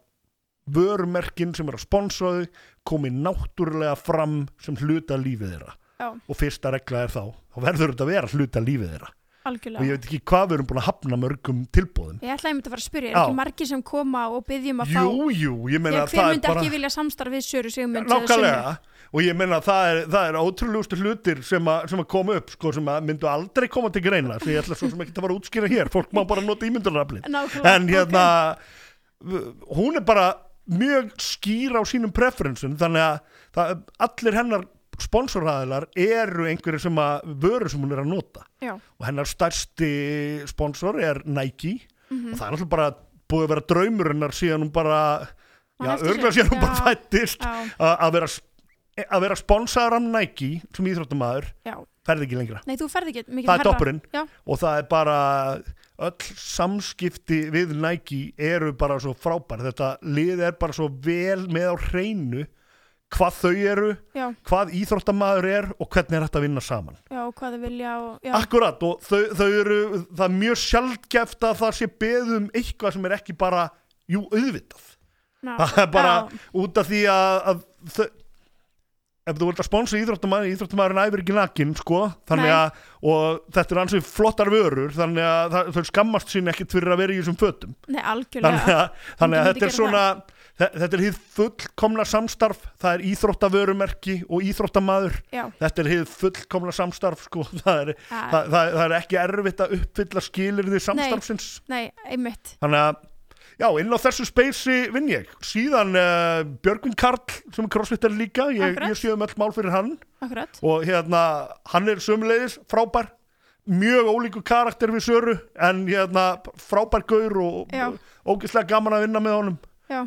Speaker 1: vörumerkin sem er að sponsa þau komi náttúrulega fram sem hluta af lífið þeirra
Speaker 3: Já.
Speaker 1: og fyrsta regla er þá þá verður þetta að vera hluta af lífið þeirra og ég
Speaker 3: algjörlega
Speaker 1: veit ekki hvað við erum búin að hafna mörgum tilbúðum
Speaker 3: ég ætlaði einmitt að fara að spyrja, er
Speaker 1: Já.
Speaker 3: ekki margir sem koma og byggjum að fá
Speaker 1: Jú, jú, ég meina
Speaker 3: Þegar
Speaker 1: að
Speaker 3: hver
Speaker 1: það er
Speaker 3: myndi
Speaker 1: bara
Speaker 3: ekki vilja samstarf við Söru Sigmund eða Sunnu?
Speaker 1: Nákvæmlega og ég meina að það er, það er ótrúlegustu hlutir sem að, sem að koma upp sko, sem að myndu aldrei koma til greina því ég ætla svo sem ekki að fara að útskýra hér fólk má bara nota ímyndunaraflið
Speaker 3: Nákvæmlega
Speaker 1: en hérna hún er bara mjög skýr á sínum preferensum þannig að það, allir hennar sponsoræðilar eru einhverju sem að vöru sem hún er að nota
Speaker 3: ok, já,
Speaker 1: og hennar stærsti sponsor er Nike
Speaker 3: Mhm.
Speaker 1: og það er alltaf bara búið að vera draumur hennar síðan hún bara
Speaker 3: Man
Speaker 1: já,
Speaker 3: eftir sér.
Speaker 1: örgla síðan hún
Speaker 3: Já.
Speaker 1: bara fættist
Speaker 3: Já.
Speaker 1: að að vera að vera sponsaður af Nike sem íþróttamæður
Speaker 3: já,
Speaker 1: ferði ekki lengra
Speaker 3: nei þú ferð ekki mikið
Speaker 1: það er
Speaker 3: hærra.
Speaker 1: toppurinn
Speaker 3: Já.
Speaker 1: og það er bara öll samskipti við Nike eru bara svo frábær þetta lið er bara svo vel með á hreinu hvað þau eru,
Speaker 3: já,
Speaker 1: hvað íþróttamæður er og hvernig er þetta að vinna saman
Speaker 3: já, hvað þau vilja og, já,
Speaker 1: Akkurat og þau, þau eru, það er mjög sjaldgæft að það sé beðið um eitthvað sem er ekki bara, jú, auðvitað.
Speaker 3: ná,
Speaker 1: Það er bara
Speaker 3: já,
Speaker 1: út af því að, að þau, ef þú vilt að sponsa íþróttamæður, íþróttamæðurinn æfir ekki nakin, sko, þannig
Speaker 3: Nei.
Speaker 1: að, og þetta er ansið flottar vörur, þannig að það, þau skammast sín ekkit fyrir að vera í þessum fötum.
Speaker 3: nei,
Speaker 1: Þannig
Speaker 3: algjörlega
Speaker 1: að, þannig að
Speaker 3: myndi
Speaker 1: þetta er
Speaker 3: gera
Speaker 1: svona, þe- þetta er hið fullkomna samstarf, það er íþróttavörumerki og íþróttamæður,
Speaker 3: já,
Speaker 1: þetta er hið fullkomna samstarf, sko, það er,
Speaker 3: að,
Speaker 1: það, það, það er ekki erfitt að uppfylla skilirði samstarfsins
Speaker 3: nei, einmitt
Speaker 1: þannig að já, inn á þessu speysi vinn ég síðan uh, Björgvin Karl sem er crossfitter líka, ég,
Speaker 3: Akkurat.
Speaker 1: ég sé um öll mál fyrir hann
Speaker 3: akkurat,
Speaker 1: og hérna, hann er sömulegis frábær, mjög ólíku karakter við Söru, en hérna frábær gaur og
Speaker 3: Já.
Speaker 1: ógeðslega gaman að vinna með honum
Speaker 3: já,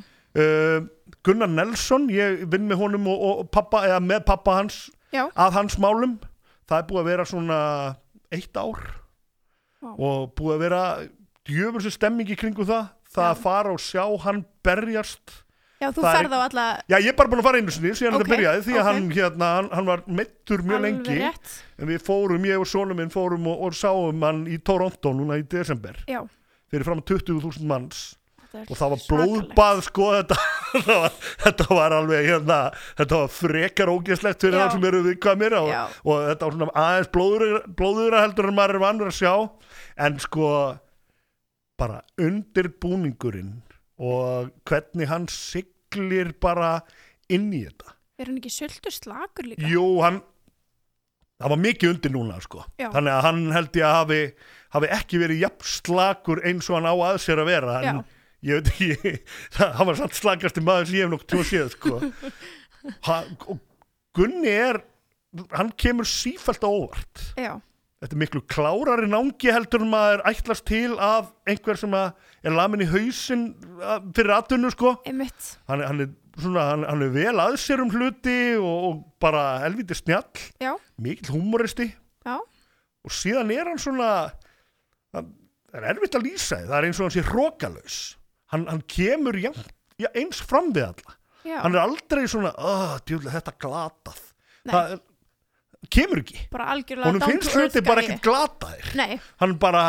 Speaker 1: uh, Gunnar Nelson, ég vinn með honum og, og pappa, eða með pappa hans
Speaker 3: já,
Speaker 1: að hans málum það er búið að vera svona eitt ár
Speaker 3: Vá.
Speaker 1: og búið að vera djöfur sem stemming í kringum það það að fara og sjá hann berjast
Speaker 3: já, þú
Speaker 1: Það er-
Speaker 3: ferð á alla
Speaker 1: já ég er bara búin að fara einu sinni síðan
Speaker 3: Ok,
Speaker 1: þetta byrjaði því að
Speaker 3: ok.
Speaker 1: hann, hérna, hann, hann var meittur mjög
Speaker 3: alveg
Speaker 1: lengi
Speaker 3: rétt,
Speaker 1: en við fórum, ég og sonum minn fórum og, og sáum hann í Toronto núna í desember
Speaker 3: já
Speaker 1: fyrir fram 20.000 manns
Speaker 3: þetta er
Speaker 1: og það var
Speaker 3: svakalegt.
Speaker 1: blóðbað sko þetta, það var, þetta var alveg hérna, þetta var frekar ógeðslegt fyrir
Speaker 3: Já.
Speaker 1: það sem eru viðkvæmir og,
Speaker 3: Já.
Speaker 1: og þetta var svona aðeins blóður, blóðura heldur en maður er vannur að sjá en sko bara undirbúningurinn og hvernig hann siglir bara inn í þetta
Speaker 3: er hann ekki söldur slakur líka
Speaker 1: Jú, hann það var mikið undir núna sko
Speaker 3: Já.
Speaker 1: þannig að hann held ég að hafi, hafi ekki verið jafn slakur eins og hann á að sér að vera en
Speaker 3: Já.
Speaker 1: ég veit ekki það, hann var satt slakasti maður sem ég hef nokkuð tjóð séð sko ha, og Gunni er hann kemur sífælt á óvart
Speaker 3: já,
Speaker 1: þetta er miklu klárari námgi heldur en maður ætlast til af einhver sem að er lamin í hausinn að- fyrir aðtunnu sko
Speaker 3: einmitt,
Speaker 1: hann, hann, er, svona, hann, hann er vel að sér um hluti og, og bara helviti snjall
Speaker 3: já,
Speaker 1: mikill humoristi
Speaker 3: já
Speaker 1: og síðan er hann svona hann, það er erfitt að lýsa því, það er eins og hann sé hrókalaus hann, hann kemur já, já, eins fram við alla
Speaker 3: Já,
Speaker 1: hann er aldrei svona, "Ah, djúlega þetta glatað
Speaker 3: Nei.
Speaker 1: það er, kemur ekki
Speaker 3: bara algjörlega
Speaker 1: honum
Speaker 3: down
Speaker 1: finnst
Speaker 3: to earth
Speaker 1: hluti bara
Speaker 3: gæi.
Speaker 1: ekkert glataðir
Speaker 3: Nei,
Speaker 1: hann bara,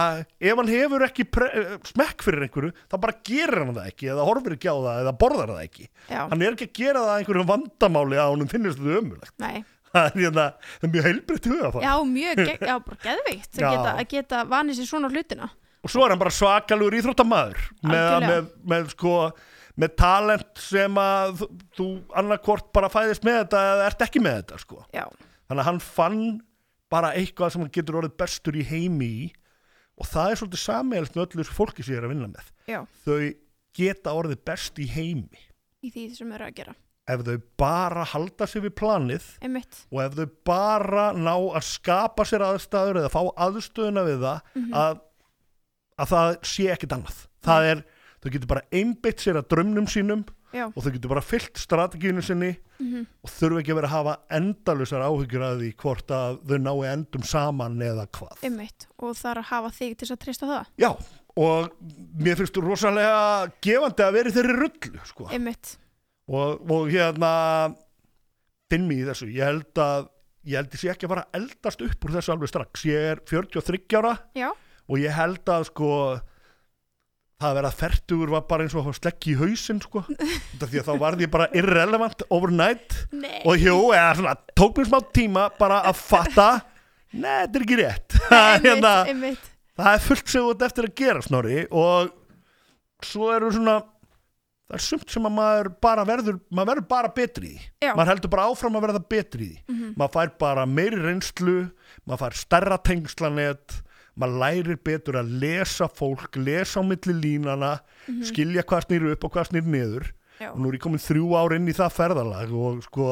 Speaker 1: ef hann hefur ekki pre, eh, smekk fyrir einhverju, þá bara gerir hann það ekki eða horfir ekki á það eða borðar það ekki
Speaker 3: já,
Speaker 1: hann er ekki að gera það að einhverjum vandamáli að honum finnist þetta ömulegt
Speaker 3: nei
Speaker 1: það er, hérna, það er mjög heilbreytt hugafar
Speaker 3: Já, mjög, ge- já, bara geðveikt að
Speaker 1: Já.
Speaker 3: geta, að geta vanið sér svona hlutina
Speaker 1: og svo er hann bara svakalur íþróttamaður með,
Speaker 3: Algjörlega.
Speaker 1: með, með sko með talent sem að þú- þú annarkvort bara fæðist með þetta eða ert ekki með þetta sko
Speaker 3: Já,
Speaker 1: þannig að hann fann bara eitthvað sem hann getur orðið bestur í heimi í og það er svolítið sammeilst með öllu þessu fólki sem ég er að vinna með
Speaker 3: já,
Speaker 1: þau geta orðið best í heimi
Speaker 3: í því sem eru að gera
Speaker 1: ef þau bara halda sig við planið
Speaker 3: Einmitt,
Speaker 1: og ef þau bara ná að skapa sér aðstæður eða fá aðstöðuna við það
Speaker 3: Mhm.
Speaker 1: að, að það sé ekkert annað það er, þau getur bara einbytt sér að drömnum sínum
Speaker 3: já,
Speaker 1: og þau getur bara fyllt strategínu sinni
Speaker 3: mhm,
Speaker 1: og þurfa ekki að vera að hafa endalusar áhyggjur að því hvort að þau nái endum saman eða hvað
Speaker 3: einmitt og það er að hafa þig til þess að treysta það
Speaker 1: já, og mér finnst rosalega gefandi að vera í þeirri rullu sko.
Speaker 3: Einmitt,
Speaker 1: og, og hérna finn mig í þessu, ég held að ég held ég sé ekki að fara að eldast upp úr þessu alveg strax, ég er 43 ára
Speaker 3: já,
Speaker 1: og ég held að sko það að vera fertugur var bara eins og að slekki í hausinn sko, Út af því að þá varð ég bara irrelevant overnight
Speaker 3: nei
Speaker 1: og jú, eða svona, tók mér smá tíma bara að fatta Nei, þetta er ekki rétt
Speaker 3: Einmitt,
Speaker 1: Hérna,
Speaker 3: einmitt,
Speaker 1: það er fullt sem þú ert eftir að gera snorri og svo eru svona það er sumt sem að maður bara verður maður verður bara betri í því.
Speaker 3: Já. Mhm.
Speaker 1: maður heldur bara áfram að verða betri í því maður fær bara meiri reynslu maður fær stærra tengslanet maður lærir betur að lesa fólk lesa á milli línana
Speaker 3: Mhm.
Speaker 1: skilja hvað snýr upp og hvað snýr niður
Speaker 3: já,
Speaker 1: og nú er ég komin þrjú ár inn í það ferðalag og sko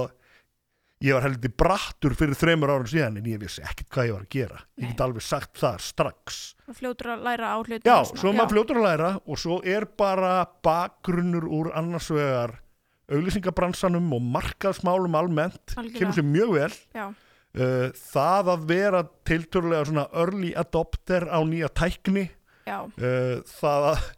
Speaker 1: ég var heldur brattur fyrir þremur árun síðan en ég vissi ekkert hvað ég var að gera ég
Speaker 3: Nei.
Speaker 1: get alveg sagt það strax
Speaker 3: og fljótur að læra á hlutina
Speaker 1: Já,
Speaker 3: og svona.
Speaker 1: svo er maður fljótur að læra og svo er bara bakgrunnur úr annars vegar auglýsingabransanum og markaðsmálum almennt,
Speaker 3: Algjörlega.
Speaker 1: kemur sér mjög vel
Speaker 3: Já,
Speaker 1: uh, það að vera tiltörulega svona early adopter á nýja tækni
Speaker 3: já,
Speaker 1: uh, það að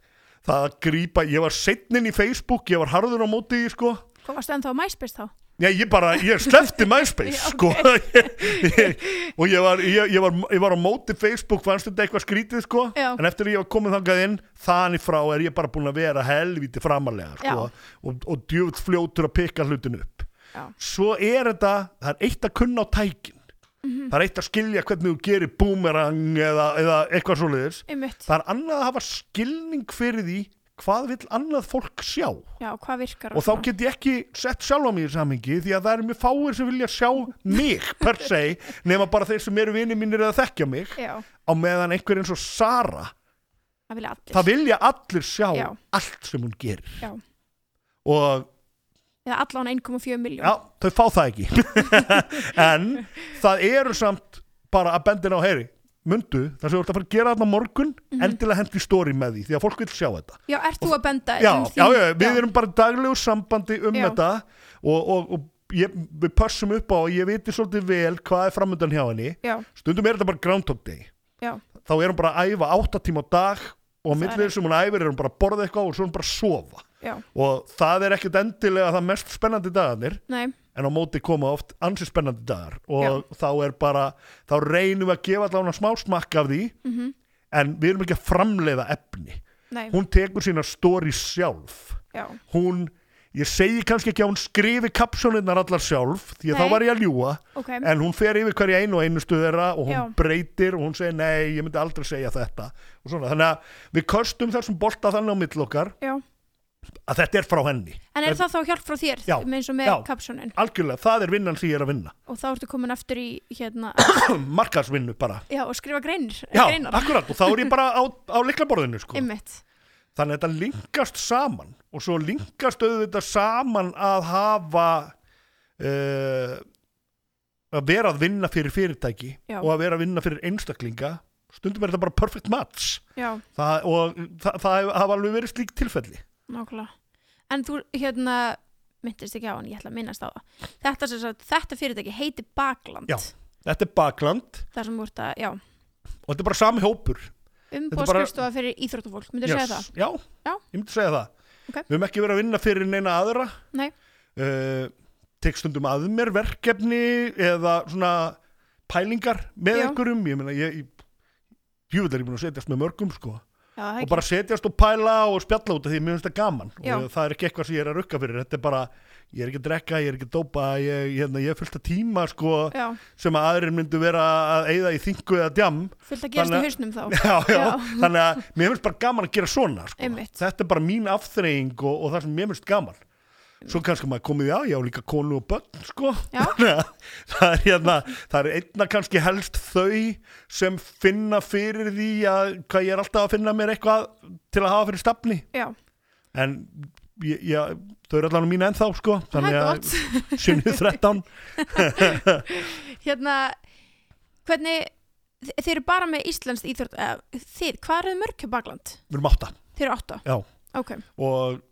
Speaker 1: það að grípa, ég var seinninn í Facebook ég var harður á móti því sko
Speaker 3: hvað varstu ennþá á MySpace þá?
Speaker 1: Já, ég bara, ég slefti MySpace
Speaker 3: Já, ok.
Speaker 1: sko ég, ég, og ég var, ég, ég, var, ég var á móti Facebook fannst þetta eitthvað skrítið sko
Speaker 3: Já.
Speaker 1: en eftir að ég var komið þangað inn þannig frá er ég bara búin að vera helvíti framalega sko,
Speaker 3: Já.
Speaker 1: og, og djöfull fljótur að pikka hlutin upp
Speaker 3: Já.
Speaker 1: svo er þetta, það er eitt að kunna á tækin
Speaker 3: Mhm.
Speaker 1: það er eitt að skilja hvernig þú gerir boomerang eða, eða eitthvað svoleiðis
Speaker 3: Einmitt,
Speaker 1: það er annað að hafa skilning fyrir því hvað vill annað fólk sjá
Speaker 3: já, hvað virkar
Speaker 1: og þá get ég ekki sett sjálf á mig í samhengi því að það eru mjög fáir sem vilja sjá mig per se nema bara þeir sem eru vinið mínir eða þekkja mig
Speaker 3: Já,
Speaker 1: á meðan einhver eins og Sara
Speaker 3: það vilja allir
Speaker 1: það vilja allir sjá
Speaker 3: Já.
Speaker 1: allt sem hún gerir
Speaker 3: Já.
Speaker 1: og
Speaker 3: eða allan 1,4 miljón
Speaker 1: já, þau fá það ekki en það eru samt bara að bendina á heyri mundu, það sem þú ert að fara að gera þarna á morgun endilega hendi stóri með því því að fólk vil sjá þetta
Speaker 3: já, ert þú að benda
Speaker 1: já,
Speaker 3: um því?
Speaker 1: já, já, við erum bara í daglegu sambandi um
Speaker 3: Já.
Speaker 1: þetta og, og, og ég, við pössum upp á að ég viti svolítið vel hvað er framöndan hjá henni
Speaker 3: já,
Speaker 1: stundum er þetta bara Groundhog Day
Speaker 3: já,
Speaker 1: þá er hún bara að æfa 8 tíma á dag og á millir sem hún æfir er hún bara að borða eitthvað og svo er hún bara að sofa
Speaker 3: já,
Speaker 1: og það er ekkit endilega það mest spennandi dagarnir
Speaker 3: nei,
Speaker 1: en á móti koma oft ansi spennandi dagar og þá er bara þá reynum við að gefa allavega smá smakk af því
Speaker 3: mhm,
Speaker 1: en við erum ekki að framleiða efni
Speaker 3: nei,
Speaker 1: hún tekur sína stóri sjálf
Speaker 3: já,
Speaker 1: hún, ég segi kannski ekki að hún skrifi kapsjónirnar allar sjálf því að
Speaker 3: Nei.
Speaker 1: þá var ég að ljúa
Speaker 3: ok,
Speaker 1: en hún fer yfir hverja einu og einu stuðera og hún
Speaker 3: Já.
Speaker 1: breytir og hún segir nei, ég myndi aldrei segja þetta og svona, þannig að við köstum þessum bolta þannig á mill okkar
Speaker 3: já.
Speaker 1: að þetta er frá henni,
Speaker 3: En er það þá hjálp frá þér,
Speaker 1: Já,
Speaker 3: eins og með
Speaker 1: já.
Speaker 3: kapsjónin
Speaker 1: algjörlega, það er vinnan sem ég er að vinna
Speaker 3: og þá ertu komin aftur í hérna,
Speaker 1: markarsvinnu bara
Speaker 3: já, og skrifa greinir,
Speaker 1: Já,
Speaker 3: greinar,
Speaker 1: akkurat, og þá er ég bara á, á liklaborðinu sko.
Speaker 3: ymmit,
Speaker 1: þannig að þetta linkast saman og svo linkast auðvitað saman að hafa uh, að vera að vinna fyrir fyrirtæki
Speaker 3: Já.
Speaker 1: og að vera að vinna fyrir einstaklinga stundum er þetta bara perfect match
Speaker 3: já,
Speaker 1: það, og það, það hafa alveg verið slík tilfelli
Speaker 3: nákvæmlega. En þú, hérna, myndist ekki á hann, ég ætla að minnast á það. Þetta, sem sagt, þetta fyrirtæki heiti Bakland,
Speaker 1: Já. þetta er bakland
Speaker 3: þar sem voru að, já,
Speaker 1: og þetta er bara sami hópur Þetta er bara-
Speaker 3: umbóðskristofa fyrir íþróttufólk, myndir yes. segja það?
Speaker 1: Já,
Speaker 3: Já.
Speaker 1: ég myndi segja það
Speaker 3: Ok.
Speaker 1: við höfum ekki verið að vinna fyrir neina aðra
Speaker 3: Nei.
Speaker 1: uh, tek stundum að mér verkefni eða svona pælingar með
Speaker 3: Já.
Speaker 1: einhverjum ég meina ég, ég djúvill er ég búin að setjast með mörgum sko
Speaker 3: Já, það
Speaker 1: og
Speaker 3: ekki.
Speaker 1: bara setjast og pæla og spjalla út af því mér finnst það gaman
Speaker 3: Já.
Speaker 1: og það er ekki eitthvað sem ég er að rukka fyrir þetta er bara, ég er ekki að drekka, ég er ekki að dópa ég, ég, hérna, ég er fullt af tíma sko
Speaker 3: Já,
Speaker 1: sem að aðrir myndu vera að eyða í þingu eða djam
Speaker 3: fullt að gerast
Speaker 1: Þannig að-
Speaker 3: í hausnum þá.
Speaker 1: já, já.
Speaker 3: Já.
Speaker 1: þannig að mér finnst bara gaman að gera svona sko.
Speaker 3: Einmitt.
Speaker 1: þetta er bara mín afþreying og, og það sem mér finnst gaman svo kannski maður komið á, ég á líka konu og börn sko.
Speaker 3: Já.
Speaker 1: Þannig að það, er hérna, það er einna kannski helst þau sem finna fyrir því að hvað ég er alltaf að finna mér eitthvað til að hafa fyrir stafni
Speaker 3: Já,
Speaker 1: en ég, ég, þau eru allan mín ennþá sko.
Speaker 3: það
Speaker 1: þannig
Speaker 3: er
Speaker 1: að
Speaker 3: gott.
Speaker 1: sinni 13
Speaker 3: Hérna, hvernig, þi- þið eru bara með Íslands íþrótt, eða, þið, hvað eru þið mörg hjá Bakland?
Speaker 1: við erum átta
Speaker 3: Þið eru átta?
Speaker 1: Já.
Speaker 3: Ok,
Speaker 1: og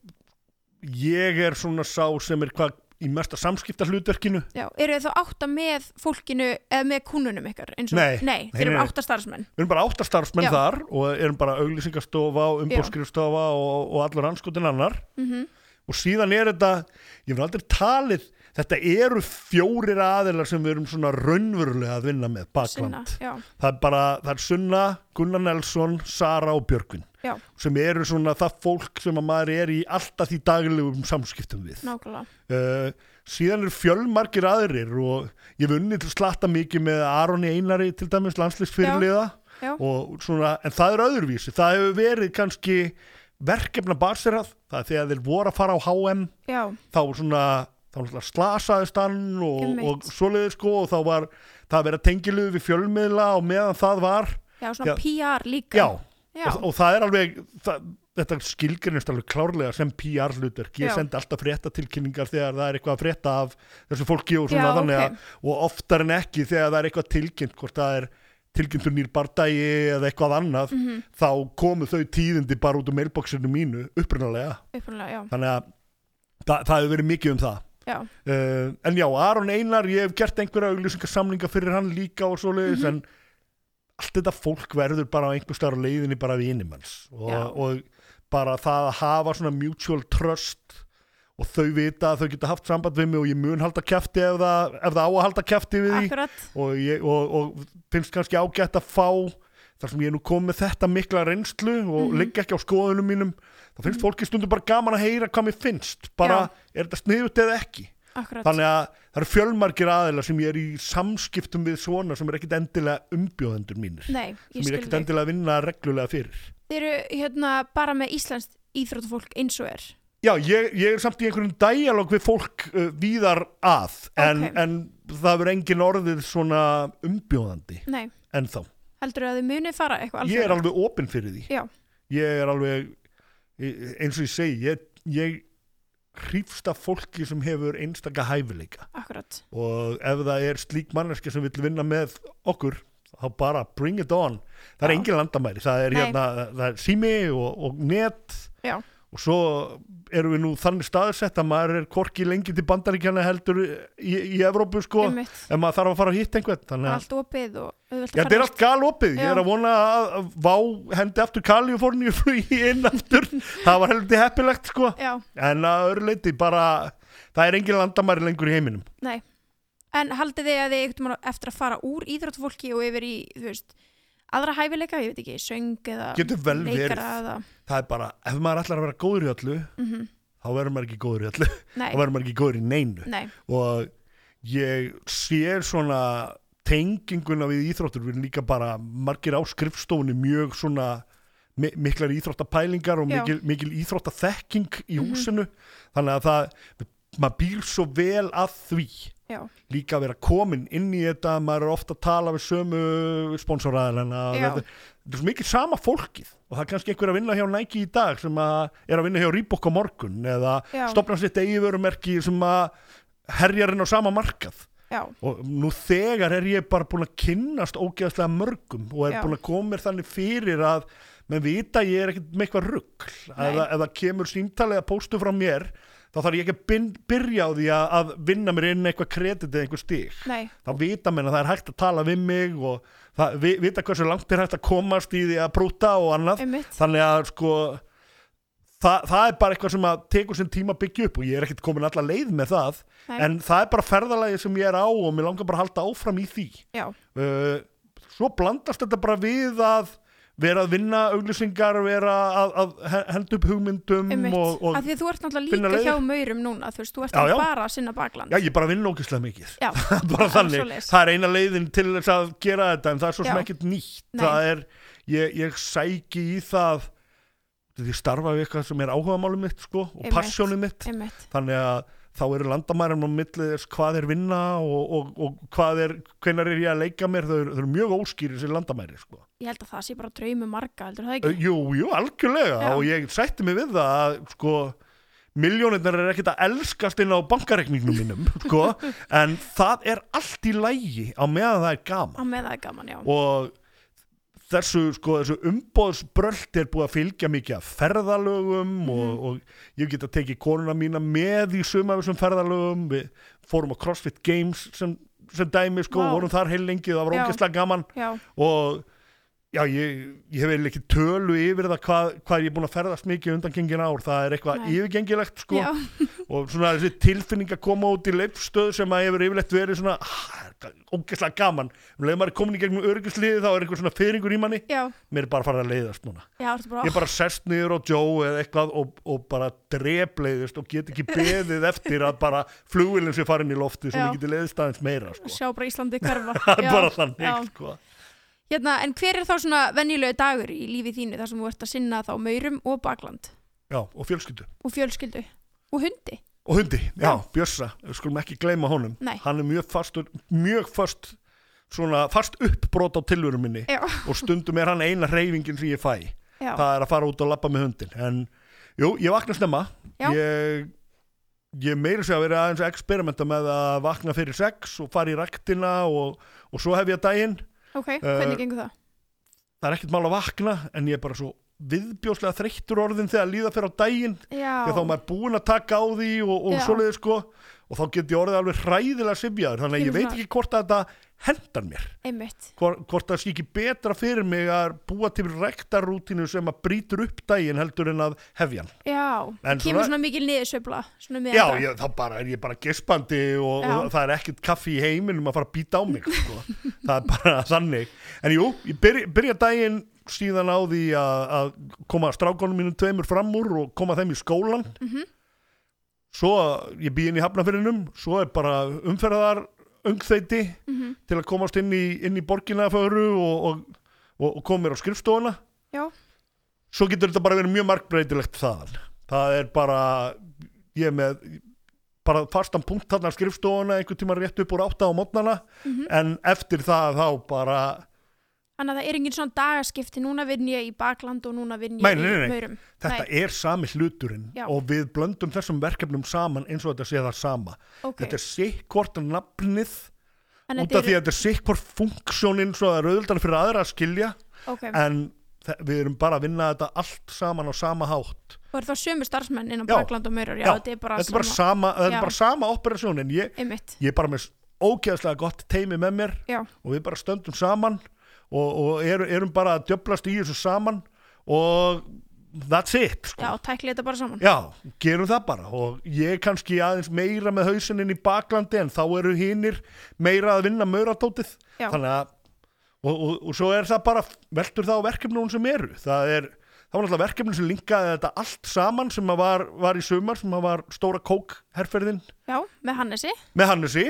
Speaker 1: ég er svona sá sem er hvað í mesta samskipta hlutverkinu
Speaker 3: já, eru þið þá átta með fólkinu, eða með kúnunum ykkar? eins og-
Speaker 1: Nei.
Speaker 3: Nei,
Speaker 1: Nei,
Speaker 3: þið eru
Speaker 1: nei, nei.
Speaker 3: átta starfsmenn.
Speaker 1: við erum bara átta starfsmenn
Speaker 3: Já.
Speaker 1: þar og erum bara auglýsingastofa og umbóðskrifstofa og, og allur anskotin annar
Speaker 3: Mm
Speaker 1: og síðan er þetta, ég hef aldrei talið þetta eru fjórir aðilar sem við erum svona raunverulega að vinna með
Speaker 3: Sinna,
Speaker 1: bakland,
Speaker 3: já,
Speaker 1: það er bara það er Sunna, Gunnar Nelson, Sara og Björgvin
Speaker 3: Já.
Speaker 1: sem eru svona það fólk sem að maður er í alltaf því daglegum samskiptum við
Speaker 3: nákvæmlega.
Speaker 1: Uh, síðan eru fjölmargir aðrir og ég hef unnið til slatta mikið með Aroni Einari til dæmis landslisfyrirliða
Speaker 3: Já, já.
Speaker 1: og svona, en það er öðruvísi það hefur verið kannski verkefna baserað, það er þegar þeir voru að fara á HM
Speaker 3: Já,
Speaker 1: þá svona þá náttúrulega slasaðist hann og,
Speaker 3: Einmitt.
Speaker 1: og svoleiðis sko og þá var það að vera tengiluð við fjölmiðla og meðan það var
Speaker 3: já svona PR líka.
Speaker 1: já,
Speaker 3: já.
Speaker 1: Og, og það er alveg það, þetta skilgrinnist alveg klárlega sem PR hlutverk, ég
Speaker 3: Já.
Speaker 1: sendi alltaf fréttatilkynningar þegar það er eitthvað að frétta af þessu fólki og svona
Speaker 3: Já,
Speaker 1: þannig
Speaker 3: ok.
Speaker 1: að og oftar en ekki þegar það er eitthvað tilkynnt hvort það er tilkynnt um nýr bardagi eða eitthvað annað
Speaker 3: Mhm.
Speaker 1: þá komu þau tíðindi bara út úr mailboxinu mínu upprunalega
Speaker 3: Upprunalega, já,
Speaker 1: þannig að það, það hefur verið mikið um það
Speaker 3: já,
Speaker 1: uh, en já, Aron Einar, ég hef gert einhverja auglýsingasamlinga fyrir hann líka og svoleiðis
Speaker 3: Mhm.
Speaker 1: en allt þetta fólk verður bara á einhvers staðar á leiðinni bara við innimans
Speaker 3: Já.
Speaker 1: og, og bara það að hafa svona mutual trust og þau vita að þau geta haft samband við mig og ég mun halda kæfti ef það, ef það á að halda kæfti við því
Speaker 3: akkurat,
Speaker 1: og, ég, og, og finnst kannski ágætt að fá þar sem ég er nú kom með þetta mikla reynslu og
Speaker 3: Mhm.
Speaker 1: liggja ekki á skoðunum mínum þá finnst fólki stundum bara gaman að heyra hvað mér finnst bara
Speaker 3: Já.
Speaker 1: er þetta sniðut eða ekki
Speaker 3: akkurat.
Speaker 1: þannig að það eru fjölmargir aðeila sem ég er í samskiptum við svona sem er ekkit endilega umbjóðendur mínir
Speaker 3: Nei,
Speaker 1: sem ég
Speaker 3: ég
Speaker 1: er
Speaker 3: skil
Speaker 1: ekkit
Speaker 3: þig.
Speaker 1: endilega að vinna reglulega fyrir
Speaker 3: Þið eru hérna bara með Íslands íþróttufólk eins og er.
Speaker 1: Já, ég, ég er samt í einhverjum dialog við fólk uh, víðar að en,
Speaker 3: Ok.
Speaker 1: en það verður engin orðið svona umbjóðandi
Speaker 3: Nei,
Speaker 1: ennþá
Speaker 3: heldur að þið munið fara eitthvað
Speaker 1: ég er
Speaker 3: alþjóðlegt?
Speaker 1: alveg opinn fyrir því
Speaker 3: Já.
Speaker 1: ég er alveg ég- eins og ég segi ég, ég hrýfst af fólki sem hefur einstaka hæfileika
Speaker 3: akkurat
Speaker 1: og ef það er slík manneski sem vill vinna með okkur þá bara bring it on það er
Speaker 3: Já.
Speaker 1: engin landamæri, það er,
Speaker 3: Nei.
Speaker 1: hérna, það er sími og, og net
Speaker 3: Já.
Speaker 1: og svo erum við nú þannig staðsett að maður er korki lengi til bandaríkjana heldur í, í Evrópu sko,
Speaker 3: einmitt,
Speaker 1: en maður þarf að fara að hitta einhvern þannig að
Speaker 3: allt opið og auðvelt að
Speaker 1: Já, þetta er
Speaker 3: ferðast.
Speaker 1: allt galopið, ég
Speaker 3: Já.
Speaker 1: er að vona að að Vá hendi aftur Kaliforníu flugi inn aftur, það var heldur heppilegt sko,
Speaker 3: Já,
Speaker 1: en að öðru leiti bara, það er engin landamæri lengur í heiminum
Speaker 3: nei En haldið þið að þið eitthvað eftir að fara úr íþróttufólki og yfir í, þú veist aðra hæfileika, ég veit ekki, söng eða
Speaker 1: Getur vel verið.
Speaker 3: leikara eða, Mhm.
Speaker 1: það er bara, ef maður ætlar að vera góður í öllu þá verður maður ekki góður í öllu
Speaker 3: nei,
Speaker 1: þá verður maður ekki góður í neinu
Speaker 3: nei,
Speaker 1: og ég sé svona tenginguna við íþróttur við erum líka bara margir á skrifstofunni mjög svona mi miklar íþróttapælingar og
Speaker 3: Já. Mhm.
Speaker 1: mikil, mikil íþróttathekking í húsinu þannig að það, maður býr svo vel að því
Speaker 3: já,
Speaker 1: líka að vera komin inn í þetta maður er ofta að tala við sömu sponsoraðilana og
Speaker 3: Já.
Speaker 1: þetta, þetta er svo mikið sama fólkið og það er kannski einhver að vinna hjá Nike í dag sem að er að vinna hjá Reebok á morgun eða
Speaker 3: Já.
Speaker 1: stopna sitt eigivörumerki sem að herjar inn á sama markað
Speaker 3: já
Speaker 1: og nú þegar er ég bara búin að kynnast ógeðslega mörgum og er
Speaker 3: Já.
Speaker 1: búin að koma mér þannig fyrir að menn vita að ég er ekkert með eitthvað rugg ef
Speaker 3: Nei.
Speaker 1: það- ef það kemur símtalið að póstu frá mér þá þarf ég ekki að byn- byrja á því að, að vinna mér inn eitthvað kredit eða einhver stig
Speaker 3: Nei,
Speaker 1: þá vita menn að það er hægt að tala við mig og það, vi, vita hversu langt er hægt að komast í því að brúta og annað
Speaker 3: einmitt,
Speaker 1: þannig að sko það, það er bara eitthvað sem að tekur sinn tíma að byggja upp og ég er ekkert komin alla leið með það
Speaker 3: Nei.
Speaker 1: en það er bara ferðalagi sem ég er á og mér langar bara að halda áfram í því
Speaker 3: já,
Speaker 1: uh, svo blandast þetta bara við að vera að vinna auglýsingar, vera að, að he- henda upp hugmyndum Mm,
Speaker 3: einmitt
Speaker 1: og, og
Speaker 3: Af því að þú ert náttúrulega
Speaker 1: finna
Speaker 3: líka
Speaker 1: leiðir.
Speaker 3: hjá maurum núna, þú veist, þú ert
Speaker 1: Já, já.
Speaker 3: bara að sinna bakland
Speaker 1: já, ég bara vinna ógislega mikið
Speaker 3: já.
Speaker 1: bara
Speaker 3: Það er
Speaker 1: þannig,
Speaker 3: svoleiðis.
Speaker 1: það er eina leiðin til þess að gera þetta en það er svo sem
Speaker 3: Já.
Speaker 1: ekkert nýtt
Speaker 3: Nei.
Speaker 1: það er, ég, ég sæki í það því ég starfa við eitthvað sem er áhugamálum mitt sko, og
Speaker 3: Einmitt.
Speaker 1: passjónum mitt
Speaker 3: einmitt,
Speaker 1: þannig að þá eru landamærum á milli þess hvað er vinna og, og, og hvað er, hvenar er ég að leika mér þau eru, þau eru mjög óskýri sér landamæri sko.
Speaker 3: ég held að það sé bara draumi marga, heldur
Speaker 1: Ö,
Speaker 3: það ekki?
Speaker 1: Eh, jú, jú, algjörlega
Speaker 3: Já.
Speaker 1: og ég sætti mig við það að sko miljónirnar er ekkert að elskast inn á bankareikningnum mínum sko, en það er allt í lægi á meðan það er gaman
Speaker 3: Á með það er gaman, já,
Speaker 1: og þessu, sko, þessu umbóðsbrölt er búið að fylgja mikið af ferðalögum
Speaker 3: Mm.
Speaker 1: og, og ég get að teki konuna mína með í suma af þessum ferðalögum við fórum á CrossFit Games sem, sem dæmi sko,
Speaker 3: Vá.
Speaker 1: vorum þar heil lengi það var
Speaker 3: Já.
Speaker 1: ógeðslega gaman
Speaker 3: já,
Speaker 1: og já, ég, ég hef eiginlega ekki tölu yfir það hvað, hvað ég er búin að ferðast mikið undan gengin ár, það er eitthvað
Speaker 3: Nei.
Speaker 1: yfirgengilegt sko,
Speaker 3: já,
Speaker 1: og svona þessi tilfinning að koma út í leifstöð sem að hefur yfirlegt verið svona ah, ógeðslega gaman um leið maður er komin í gegnum öryggisliði þá er einhver svona fyrringur í manni
Speaker 3: já,
Speaker 1: mér er bara að fara að leiðast núna
Speaker 3: já, ertu bara,
Speaker 1: ég er bara sest niður og Joe eða eitthvað og, og bara drepleiðist og get ekki beðið eftir að bara flugvillin sé farin í lofti sem
Speaker 3: Já.
Speaker 1: ég geti leiðist aðeins meira sko.
Speaker 3: sjá bara Íslandi hverfa
Speaker 1: það
Speaker 3: Já,
Speaker 1: er bara þannig
Speaker 3: já.
Speaker 1: sko.
Speaker 3: Hérna, en hver er þá svona venjulegu dagur í lífi þínu þar sem þú ert að sinna þá maurum og bakland
Speaker 1: já, og fjölskyldu
Speaker 3: og fjölskyldu og hundi?
Speaker 1: og hundi, já,
Speaker 3: Já.
Speaker 1: Bjössa, við skulum ekki gleyma honum
Speaker 3: Nei.
Speaker 1: hann er mjög fastur, mjög fast svona fast uppbrot á tilverum minni
Speaker 3: Já,
Speaker 1: og stundum er hann eina reyfingin sem ég fæ
Speaker 3: já,
Speaker 1: það er að fara út og labba með hundin en jú, ég vakna snemma
Speaker 3: Já.
Speaker 1: ég, ég meiri sér að vera aðeins að experimenta með að vakna fyrir sex og fara í raktina og, og svo hef ég daginn
Speaker 3: ok,
Speaker 1: uh,
Speaker 3: hvernig gengur það?
Speaker 1: það er ekkert mál að vakna en ég er bara svo viðbjóslega þreyttur orðin þegar líða fyrir á daginn
Speaker 3: Já,
Speaker 1: þegar þá er maður búin að taka á því og, og
Speaker 3: Já.
Speaker 1: svoleiði sko og þá get ég orðið alveg hræðilega sifjaður þannig að ég
Speaker 3: Kemur
Speaker 1: veit
Speaker 3: svona-
Speaker 1: ekki hvort að þetta hendar mér
Speaker 3: einmitt,
Speaker 1: hvort, hvort það sé ekki betra fyrir mig að búa til rektarútínu sem að brýtur upp daginn heldur en að hefja hann.
Speaker 3: já,
Speaker 1: En
Speaker 3: kemur
Speaker 1: svona-
Speaker 3: svona mikil niðursveifla svona með
Speaker 1: Já, ég, þá bara er ég bara gespandi og,
Speaker 3: Já.
Speaker 1: og það er ekkert kaffi í heiminum að fara að býta á mig, sko. það er bara þannig. En jú, ég byrja, byrja daginn síðan á því að, að koma strákonum mínum tveimur fram úr og koma þeim í skólan.
Speaker 3: Mhm.
Speaker 1: Svo ég býð inn í hafnafyrinum, svo er bara umferðar ungþeiti
Speaker 3: Mhm.
Speaker 1: til að komast inn í, inn í borginaföru og, og, og, og koma mér á skrifstofuna
Speaker 3: já,
Speaker 1: svo getur þetta bara verið mjög markbreytilegt þaðan það er bara ég er með bara fastan punkt þarna á
Speaker 3: Mhm.
Speaker 1: skrifstofuna einhvern tíma rétt upp úr átta á mótnana en eftir það þá bara
Speaker 3: Þannig að það er engin svona dagaskipti, núna vinn ég í bakland og núna vinn ég
Speaker 1: Nei, nei, nei,
Speaker 3: í
Speaker 1: nei.
Speaker 3: maurum.
Speaker 1: Þetta er sami hluturinn
Speaker 3: Já.
Speaker 1: og við blöndum þessum verkefnum saman eins og þetta sé það sama.
Speaker 3: Ok.
Speaker 1: Þetta er sitt hvort nafnið
Speaker 3: En
Speaker 1: út af því
Speaker 3: eru-
Speaker 1: að þetta er sitt hvort funksjónin svo að það er auðvitað fyrir aðra að skilja
Speaker 3: Ok,
Speaker 1: en þe- við erum bara að vinna þetta allt saman á sama hátt.
Speaker 3: og er þá sömu starfsmenn inn á
Speaker 1: Já.
Speaker 3: bakland og maurur, já, þetta er bara
Speaker 1: þetta er bara sama, þetta
Speaker 3: Já.
Speaker 1: er bara sama operasjónin. Ég,
Speaker 3: Einmitt,
Speaker 1: ég er bara með s- ógeðslega gott teimi með mér
Speaker 3: já,
Speaker 1: og við bara stöndum saman og, og er, erum bara að djöblast í þessu saman og that's it
Speaker 3: já,
Speaker 1: sko.
Speaker 3: tækli þetta bara saman.
Speaker 1: Já, gerum það bara og ég er kannski aðeins meira með hausinin í baklandi en þá eru hinnir meira að vinna mauradótið
Speaker 3: Já.
Speaker 1: þannig að og, og, og svo er það bara, veltur það á verkefnum sem eru, það er það var náttúrulega verkefnum sem linkaði þetta allt saman sem að var, var í sumar, sem að var stóra kókherferðin
Speaker 3: Já, með Hannesi,
Speaker 1: með Hannesi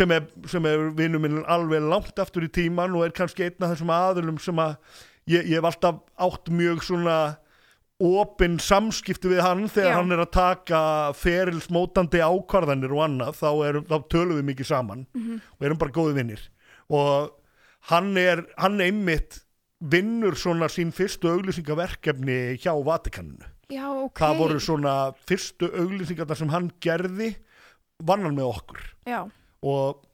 Speaker 1: sem er, sem er vinnu minn alveg langt aftur í tíman og er kannski einn af þessum aðlum sem að ég, ég hef alltaf átt mjög svona opin samskipti við hann þegar
Speaker 3: Já.
Speaker 1: hann er að taka ferilsmótandi ákvarðanir og annað þá, er, þá tölum við mikið saman og erum bara góði vinnir og hann er, hann einmitt vinnur svona sín fyrstu auglýsingaverkefni hjá Vatikaninu
Speaker 3: já, ok.
Speaker 1: það voru svona fyrstu auglýsingarna sem hann gerði vann hann með okkur
Speaker 3: Já,
Speaker 1: og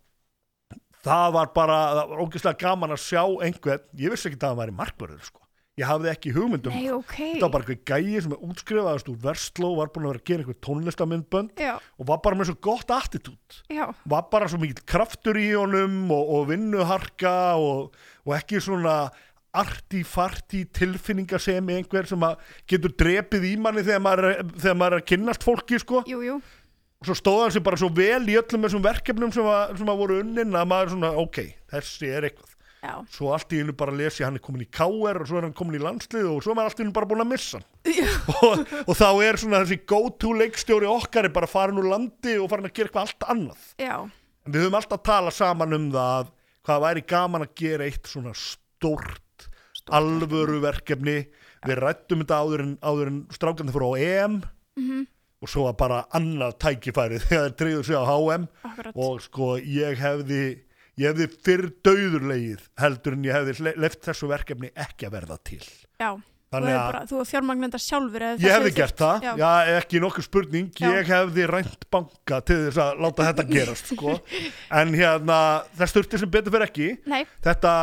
Speaker 1: það var bara það var ógeðslega gaman að sjá einhvern ég vissi ekki að það væri markverður sko. ég hafði ekki hugmyndum
Speaker 3: nei, ok.
Speaker 1: þetta var bara einhver gæi sem er útskrifaðast úr versló var búin að vera að gera einhver tónlistamindbönd
Speaker 3: Já,
Speaker 1: og var bara með svo gott attitút
Speaker 3: já,
Speaker 1: var bara svo mikill kraftur í honum og, og vinnuharka og, og ekki svona arti-farti tilfinninga sem einhver sem að getur drepið í manni þegar maður, er- þegar maður er að kynnast fólki sko
Speaker 3: jú, jú,
Speaker 1: svo stóð hann sér bara svo vel í öllum þessum verkefnum sem að, sem að voru unnin að maður svona, ok, þessi er eitthvað
Speaker 3: já.
Speaker 1: svo allt í einu bara lesi hann er komin í KR og svo er hann komin í landslið og svo er maður allt í einu bara búin að missa hann og, og þá er svona þessi go-to leikstjóri okkar er bara farin úr landi og farin að gera eitthvað allt annað
Speaker 3: Já,
Speaker 1: en við höfum alltaf að tala saman um það að hvað væri gaman að gera eitt svona stórt, alvöru verkefni við rættum þetta áður en, áður en strákandi fór á EM og svo var bara annað tækifæri þegar þeir treyðu sig á HM
Speaker 3: akkurat.
Speaker 1: og sko ég hefði ég hefði fyrr döðurlegið heldur en ég hefði left þessu verkefni ekki að verða til
Speaker 3: já, þú
Speaker 1: þannig
Speaker 3: hefur
Speaker 1: að-
Speaker 3: bara, þú hefur fjármagnenda sjálfur. ef
Speaker 1: Ég
Speaker 3: það
Speaker 1: hefði
Speaker 3: hefur
Speaker 1: gert
Speaker 3: þurft.
Speaker 1: það, já. ekki nokkuð spurning,
Speaker 3: Já.
Speaker 1: ég hefði rænt banka til þess að láta þetta gerast, sko. En hérna, það sturti sem betur fyrir ekki,
Speaker 3: Nei,
Speaker 1: þetta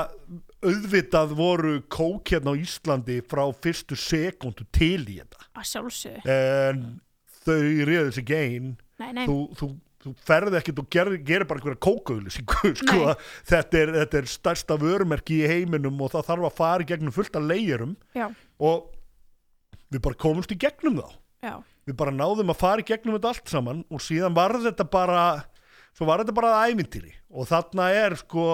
Speaker 1: auðvitað voru kók hérna á Íslandi frá fyrstu sekundu til í þetta.
Speaker 3: að sjálfsögðu.
Speaker 1: En þau réðu sig gein,
Speaker 3: Nei, nei,
Speaker 1: þú, þú, þú ferði ekkit og gerir, gerir bara einhverja kókauðlýsingu, sko.
Speaker 3: Nei.
Speaker 1: Þetta er, þetta er stærsta vörumerki í heiminum og það þarf að fara í gegnum fullt af leiðurum
Speaker 3: já,
Speaker 1: og við bara komumst í gegnum þá
Speaker 3: já,
Speaker 1: við bara náðum að fara í gegnum þetta allt saman og síðan var þetta bara svo var þetta bara að ævintýri og þarna er sko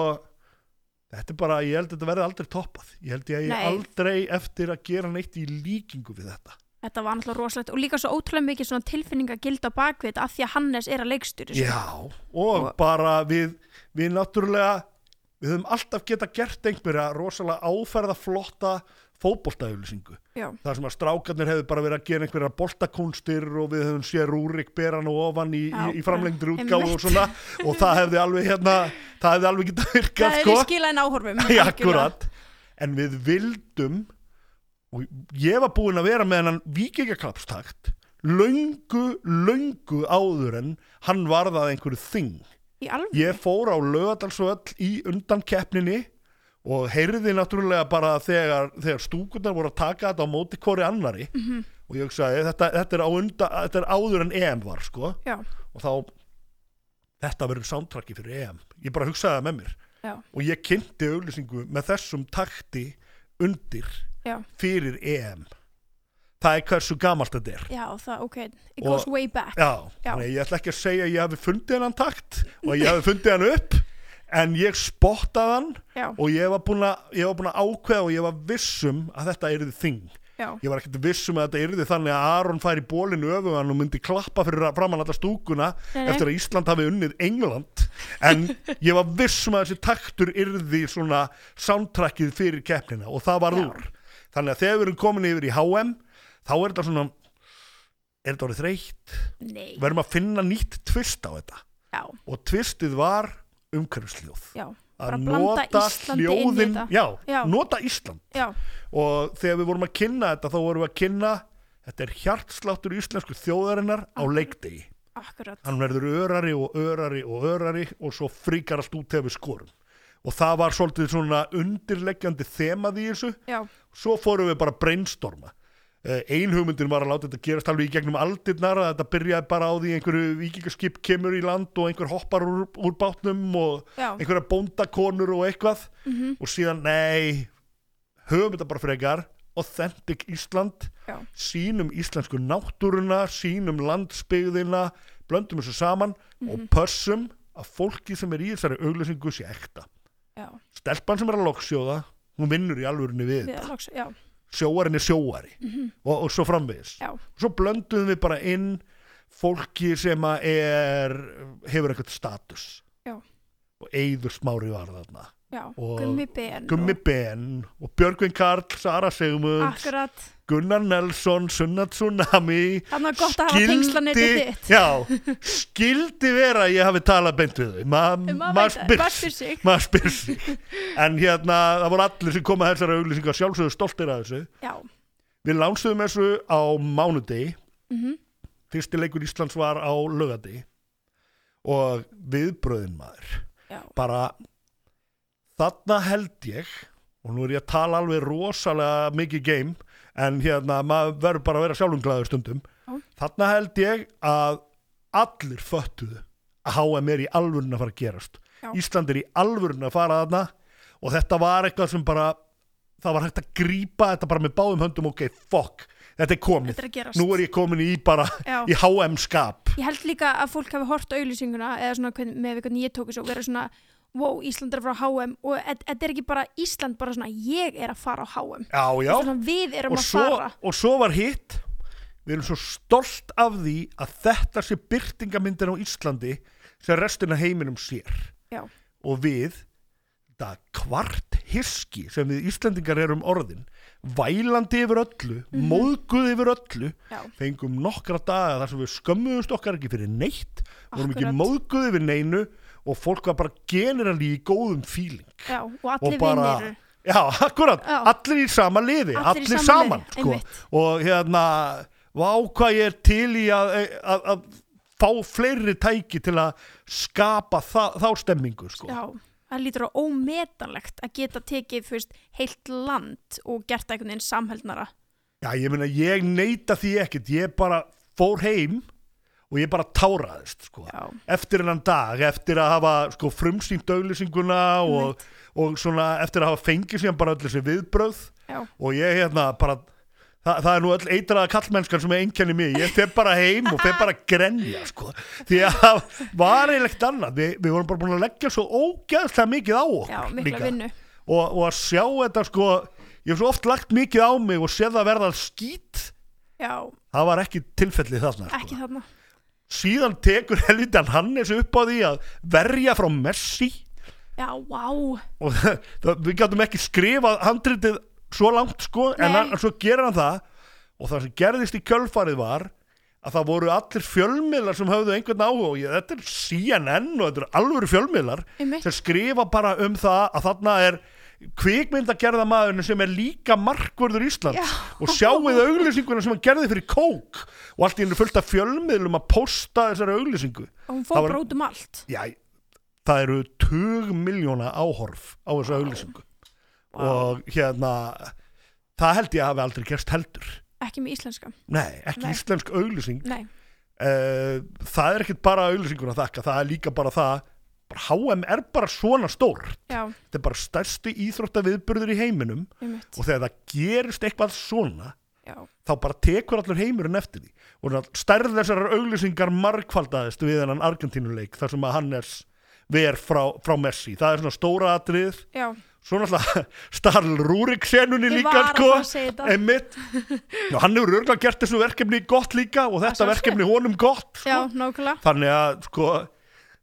Speaker 1: þetta er bara, ég held að þetta verði aldrei toppað ég held ég að
Speaker 3: Nei.
Speaker 1: ég aldrei eftir að gera neitt í líkingu við þetta
Speaker 3: þetta var náttúrulega rosalegt og líka svo ótrúlega mikið svona tilfinninga gild á bakvið af því að Hannes er að leikstýri sko.
Speaker 1: já, og bara við við náttúrulega við höfum alltaf geta gert einhverja rosalega áferða flotta fótboltaauðlýsingu
Speaker 3: já,
Speaker 1: þar sem að strákarnir hefðu bara verið að gera einhverjar boltakunstir og við höfum séð Rúrik beran og ofan í,
Speaker 3: Já,
Speaker 1: í, í framlengdri
Speaker 3: bara,
Speaker 1: útgáfu og svona og það hefði alveg hérna það hefði alveg getað virkað
Speaker 3: það er
Speaker 1: sko
Speaker 3: í skilæn
Speaker 1: Já,
Speaker 3: áhorfum algjörlega.
Speaker 1: akkurat en við vildum og ég var búinn að vera með hennan vikingaklapstakt löngu, löngu áður en hann varðað einhverju þing
Speaker 3: í alveg,
Speaker 1: ég fór á lögadalsvöll í undan keppninni og heyrði náttúrulega bara þegar, þegar stúkunar voru að taka þetta á móti hvori annari -hmm. og ég hugsaði þetta, þetta, er á undan, þetta er áður en EM var sko
Speaker 3: já,
Speaker 1: og þá þetta verður sántrakki fyrir EM ég bara hugsaði það með mér
Speaker 3: já,
Speaker 1: og ég kynnti auglýsingu með þessum takti undir
Speaker 3: já
Speaker 1: fyrir EM það er hversu gamalt þetta er
Speaker 3: já, það, ok, it
Speaker 1: Og-
Speaker 3: goes way back
Speaker 1: Já,
Speaker 3: Já.
Speaker 1: Nei, ég ætla ekki að segja að ég hafi fundið hennan takt og að ég hafi fundið hann upp en ég spottaði hann
Speaker 3: já,
Speaker 1: og ég var búin að, ég var búin að ákveða og ég var viss um að þetta yrði þing
Speaker 3: já,
Speaker 1: ég var ekkert viss um að þetta yrði þannig að Aron fær í bólinu öfugan og myndi klappa fyrir að framann alla stúkuna
Speaker 3: Nei, nei.
Speaker 1: eftir að Ísland hafi unnið England en ég var viss um að þessi taktur yrði svona soundtrackið fyrir keppnina og það var
Speaker 3: Já.
Speaker 1: úr þannig að þegar við erum komin yfir í HM þá er þetta svona er þetta orðið þreytt
Speaker 3: nei,
Speaker 1: verðum að finna nýtt tvist á þetta
Speaker 3: já,
Speaker 1: og tvistið var umhverfisljóð
Speaker 3: já Bara
Speaker 1: að
Speaker 3: blanda
Speaker 1: nota
Speaker 3: Íslandi inn í
Speaker 1: hljóðin
Speaker 3: þetta.
Speaker 1: já,
Speaker 3: Já.
Speaker 1: nota Ísland
Speaker 3: já,
Speaker 1: og þegar við vorum að kynna þetta þá vorum við að kynna þetta er hjartsláttur íslensku þjóðarinnar á leikdegi
Speaker 3: akkurat
Speaker 1: hann verður örari og örari og örari og svo fríkar allt út þegar við skorum og það var svolítið svona undirleggjandi þemað í þessu
Speaker 3: já,
Speaker 1: svo fórum við bara að brainstorma Eh, ein hugmyndin var að láta þetta gerast alveg í gegnum aldirnar að þetta byrjaði bara á því einhverju vikingaskip kemur í land og einhver hoppar úr, úr bátnum og
Speaker 3: Já. Mhm.
Speaker 1: einhverja bóndakonur og eitthvað og síðan nei höfum þetta bara frekar authentic Ísland
Speaker 3: já,
Speaker 1: sínum íslensku náttúruna sínum landsbyggðina blöndum þessu saman
Speaker 3: Mhm.
Speaker 1: og pössum að fólki sem er í þessari auglýsingu sé ekta
Speaker 3: já,
Speaker 1: stelpan sem er að loksjóða hún vinnur í alvörinni við
Speaker 3: já, loks, já,
Speaker 1: sjóarinn er sjóari og, og svo framvegis
Speaker 3: Mhm. já,
Speaker 1: svo blönduðum við bara inn fólki sem að er hefur eitthvað status
Speaker 3: Já.
Speaker 1: og Eyður Smári var þarna
Speaker 3: já,
Speaker 1: Og-
Speaker 3: gummi ben
Speaker 1: Gummi Ben og Björgvin Karl, Sara Sigmunds
Speaker 3: akkurat,
Speaker 1: Gunnar Nelson, Sunna Tsunami
Speaker 3: þannig að gott að hafa tengslanetti þitt
Speaker 1: já, skildi vera að ég hafi talað beint við þau Ma-
Speaker 3: Um að
Speaker 1: maður
Speaker 3: veita-
Speaker 1: spyr
Speaker 3: maður
Speaker 1: sig.
Speaker 3: spyr sig.
Speaker 1: maður spyr sig en hérna, það voru allir sem koma að þessari auglýsingar sjálfsögðu stoltir að þessu
Speaker 3: já,
Speaker 1: Við lánstuðum þessu á mánudegi Fyrsti leikur Íslands var á lögadegi og viðbröðin maður
Speaker 3: já,
Speaker 1: bara þarna held ég og nú er ég að tala alveg rosalega mikið game en hérna maður verður bara að vera sjálfumglæður stundum
Speaker 3: Já.
Speaker 1: þarna held ég að allir föttuðu að HM er í alvörun að fara að gerast
Speaker 3: Já.
Speaker 1: Ísland er í alvörun að fara þarna og þetta var eitthvað sem bara það var hægt að grípa þetta bara með báðum höndum ok, fuck, þetta er komið
Speaker 3: þetta er að gerast
Speaker 1: nú er ég komin í bara
Speaker 3: Já.
Speaker 1: í HM skap
Speaker 3: Ég held líka að fólk hafi hort á auðlýsinguna eða svona hvern, með hvernig ég tók þessu og verið svona wow, Ísland er að fara á HM og e- þetta er ekki bara Ísland, bara svona ég er að fara á HM
Speaker 1: já, já,
Speaker 3: svona, við erum
Speaker 1: og
Speaker 3: að
Speaker 1: svo,
Speaker 3: fara
Speaker 1: og svo var hitt við erum svo stolt af því að þetta sé byrtingamyndin á Íslandi sem restina heiminum sér
Speaker 3: já,
Speaker 1: og við það kvart hiski sem við Íslandingar erum orðin vælandi yfir öllu, móðguð yfir öllu
Speaker 3: Mhm. Já.
Speaker 1: fengum nokkra daga þar sem við skömmuðust okkar ekki fyrir neitt vorum ekki
Speaker 3: Akkurat.
Speaker 1: móðguð yfir neinu og fólk var bara generali í góðum fíling
Speaker 3: já, og
Speaker 1: og
Speaker 3: allir
Speaker 1: bara
Speaker 3: vinnir
Speaker 1: já, akkurat,
Speaker 3: Já.
Speaker 1: allir í sama liði
Speaker 3: Allir í
Speaker 1: allir,
Speaker 3: sama
Speaker 1: saman
Speaker 3: liði,
Speaker 1: sko.
Speaker 3: einmitt.
Speaker 1: og hérna, vá hvað ég er til í að, að, að fá fleiri tæki til að skapa það, þá stemmingu sko.
Speaker 3: já, það lítur á ómetanlegt að geta tekið fyrst heilt land og gert það einhvern veginn samheldnara
Speaker 1: já, ég meina, ég neyta því ekkert ég bara fór heim og ég bara táraðist sko.
Speaker 3: Já.
Speaker 1: eftir hennan dag, eftir að hafa sko, frumsýnt auglýsinguna og, og svona, eftir að hafa fengið síðan bara öll þessi viðbröð
Speaker 3: já,
Speaker 1: og ég hérna bara Þa, það er nú öll eitraða kallmennskan sem er einkenni mig ég fer bara heim og fer bara að grenja sko. því að það var eilegt annað, Vi, við vorum bara búin að leggja svo ógeðslega mikið á okkur
Speaker 3: já, mikla
Speaker 1: líka.
Speaker 3: vinnu
Speaker 1: og, og að sjá þetta sko, ég hef svo oft lagt mikið á mig og séð það verða skít
Speaker 3: já,
Speaker 1: það var ekki tilfellið þarna sko.
Speaker 3: ekki þarna
Speaker 1: síðan tekur helvítan Hannes upp á því að verja frá Messi
Speaker 3: já, wow,
Speaker 1: og það, það, við gætum ekki skrifað handritið svo langt sko en
Speaker 3: Nei.
Speaker 1: hann, svo gerir hann það og það sem gerðist í kjölfarið var að það voru allir fjölmiðlar sem höfðu einhvern áhuga og ég, þetta er CNN og þetta er alvöru fjölmiðlar
Speaker 3: Einmitt.
Speaker 1: sem skrifa bara um það að þarna er kvikmyndagerða maðurinn sem er líka markvörður Íslands
Speaker 3: Já.
Speaker 1: og sjáuð auglýsinguna sem hann gerði fyrir kók og allt í hennu fullt af fjölmiðlum að posta þessari auglýsingu
Speaker 3: og hún
Speaker 1: Það
Speaker 3: fór
Speaker 1: var-
Speaker 3: bara út um allt
Speaker 1: já, það eru 20 miljóna áhorf á þessa auðlýsingu og hérna það held ég að hafi aldrei gerst heldur
Speaker 3: ekki með íslenska,
Speaker 1: nei, ekki
Speaker 3: Nei.
Speaker 1: íslensk auðlýsing
Speaker 3: nei,
Speaker 1: uh, það er ekkit bara auðlýsingun að þakka það er líka bara það bara HM er bara svona stór
Speaker 3: já,
Speaker 1: þetta er bara stærsti íþróttaviðburður í heiminum
Speaker 3: einmitt
Speaker 1: og þegar það gerist eitthvað svona
Speaker 3: já,
Speaker 1: þá bara tekur allur heimurinn eftir því og stærð þessarar auglýsingar margfaldaðist við hennan Argentínuleik þar sem að Hannes ver frá, frá Messi það er svona stóra atrið
Speaker 3: já,
Speaker 1: svona alltaf starl Rúrik senunni
Speaker 3: Ég
Speaker 1: líka
Speaker 3: var að
Speaker 1: sko,
Speaker 3: fara að segja þetta.
Speaker 1: einmitt og hann hefur örgulega gert þessu verkefni gott líka og þetta
Speaker 3: sjálfsögðu.
Speaker 1: verkefni honum gott sko.
Speaker 3: já, nákvæmlega
Speaker 1: þannig að sko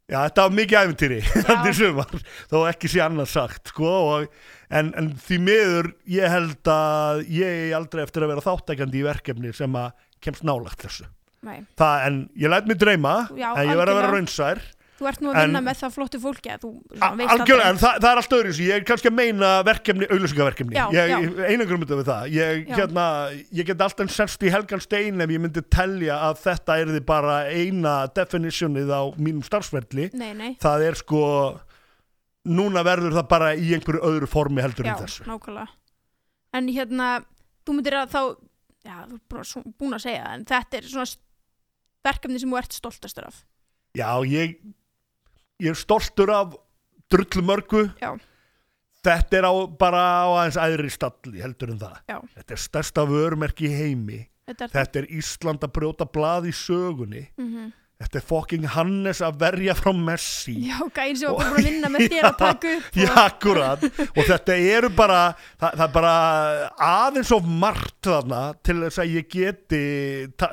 Speaker 1: já, þetta var mikið æfintýri þannig sumar, þó ekki sé annað sagt sko, og, en, en því miður ég held að ég eigi aldrei eftir að vera þáttækjandi í verkefni sem að kemst nálagt þessu
Speaker 3: nei,
Speaker 1: Það, en ég læt mig dreyma,
Speaker 3: Já,
Speaker 1: en ég verð að vera
Speaker 3: algjörlega.
Speaker 1: raunsær
Speaker 3: Þú ert nú að vinna
Speaker 1: En-
Speaker 3: með það flottu fólki að þú
Speaker 1: A- Algjörlega, en það, það er allt öðru ég er kannski að meina verkefni, auðlýsingaverkefni
Speaker 3: Já,
Speaker 1: ég
Speaker 3: já.
Speaker 1: einangrum þetta við það ég,
Speaker 3: Já.
Speaker 1: hérna, ég get alltaf semst í helgan stein ef ég myndi telja að þetta er því bara eina definitionið á mínum starfsverðli
Speaker 3: Nei, nei,
Speaker 1: það er sko núna verður það bara í einhverju öðru formi heldur
Speaker 3: já,
Speaker 1: en þessu
Speaker 3: nákvæmlega En hérna, þú myndir að þá Já, þú er bara svo- búin að segja það, En þetta er svona s- verkefni sem þú ert stoltastur af
Speaker 1: Já, ég, ég er stoltur af drullmörgu
Speaker 3: Já.
Speaker 1: þetta er á, bara á aðeins æðri stalli heldur en það
Speaker 3: Já.
Speaker 1: þetta er stærsta vörumerki í heimi
Speaker 3: Þetta er
Speaker 1: Þetta er Ísland að brjóta blað í sögunni.
Speaker 3: mm
Speaker 1: Þetta er fucking Hannes að verja frá Messi.
Speaker 3: Já, gæn sem var bara búin að vinna með þér að taka upp
Speaker 1: Já,
Speaker 3: og,
Speaker 1: akkurat. Og þetta eru bara, það, það er bara aðeins of margt þarna til þess að ég geti, ta-